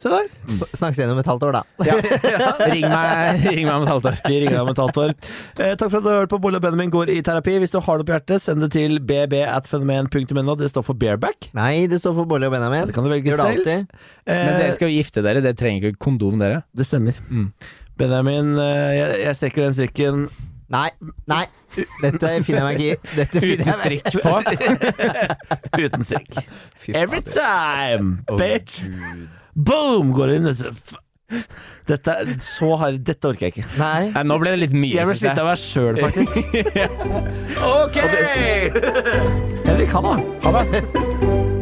S1: Se der.
S2: S- Snakkes igjen om et halvt år, da.
S4: Ja. Ring, meg, ring meg om et halvt år.
S1: Vi ringer deg om et halvt år. Eh, takk for at du har hørt på Bolle og Benjamin går i terapi. Hvis du har noe på hjertet, send det til bb.fenomen.no. Det står for bareback.
S2: Nei, det står for Bolle og Benjamin.
S1: Det kan du velge
S2: Gjør det
S1: selv.
S2: alltid.
S4: Men dere
S1: Eh,
S4: skal Mm. jo gifte dere, dere trenger ikke kondom, dere.
S1: det stemmer. Benjamin, eh, jeg, jeg strekker den strikken.
S2: Nei, nei. Dette finner jeg meg ikke i. Dette finner jeg
S4: Uten
S2: meg
S4: strikk på.
S1: Uten strikk. Every time, bitch! Boom! Går inn. Dette, er så hard, dette orker jeg ikke.
S2: Nei.
S4: Nei, nå ble det litt mye,
S1: Jeg blir
S4: synes
S1: sliten av meg sjøl, faktisk. ok! Henrik, ha det.
S4: Ha det.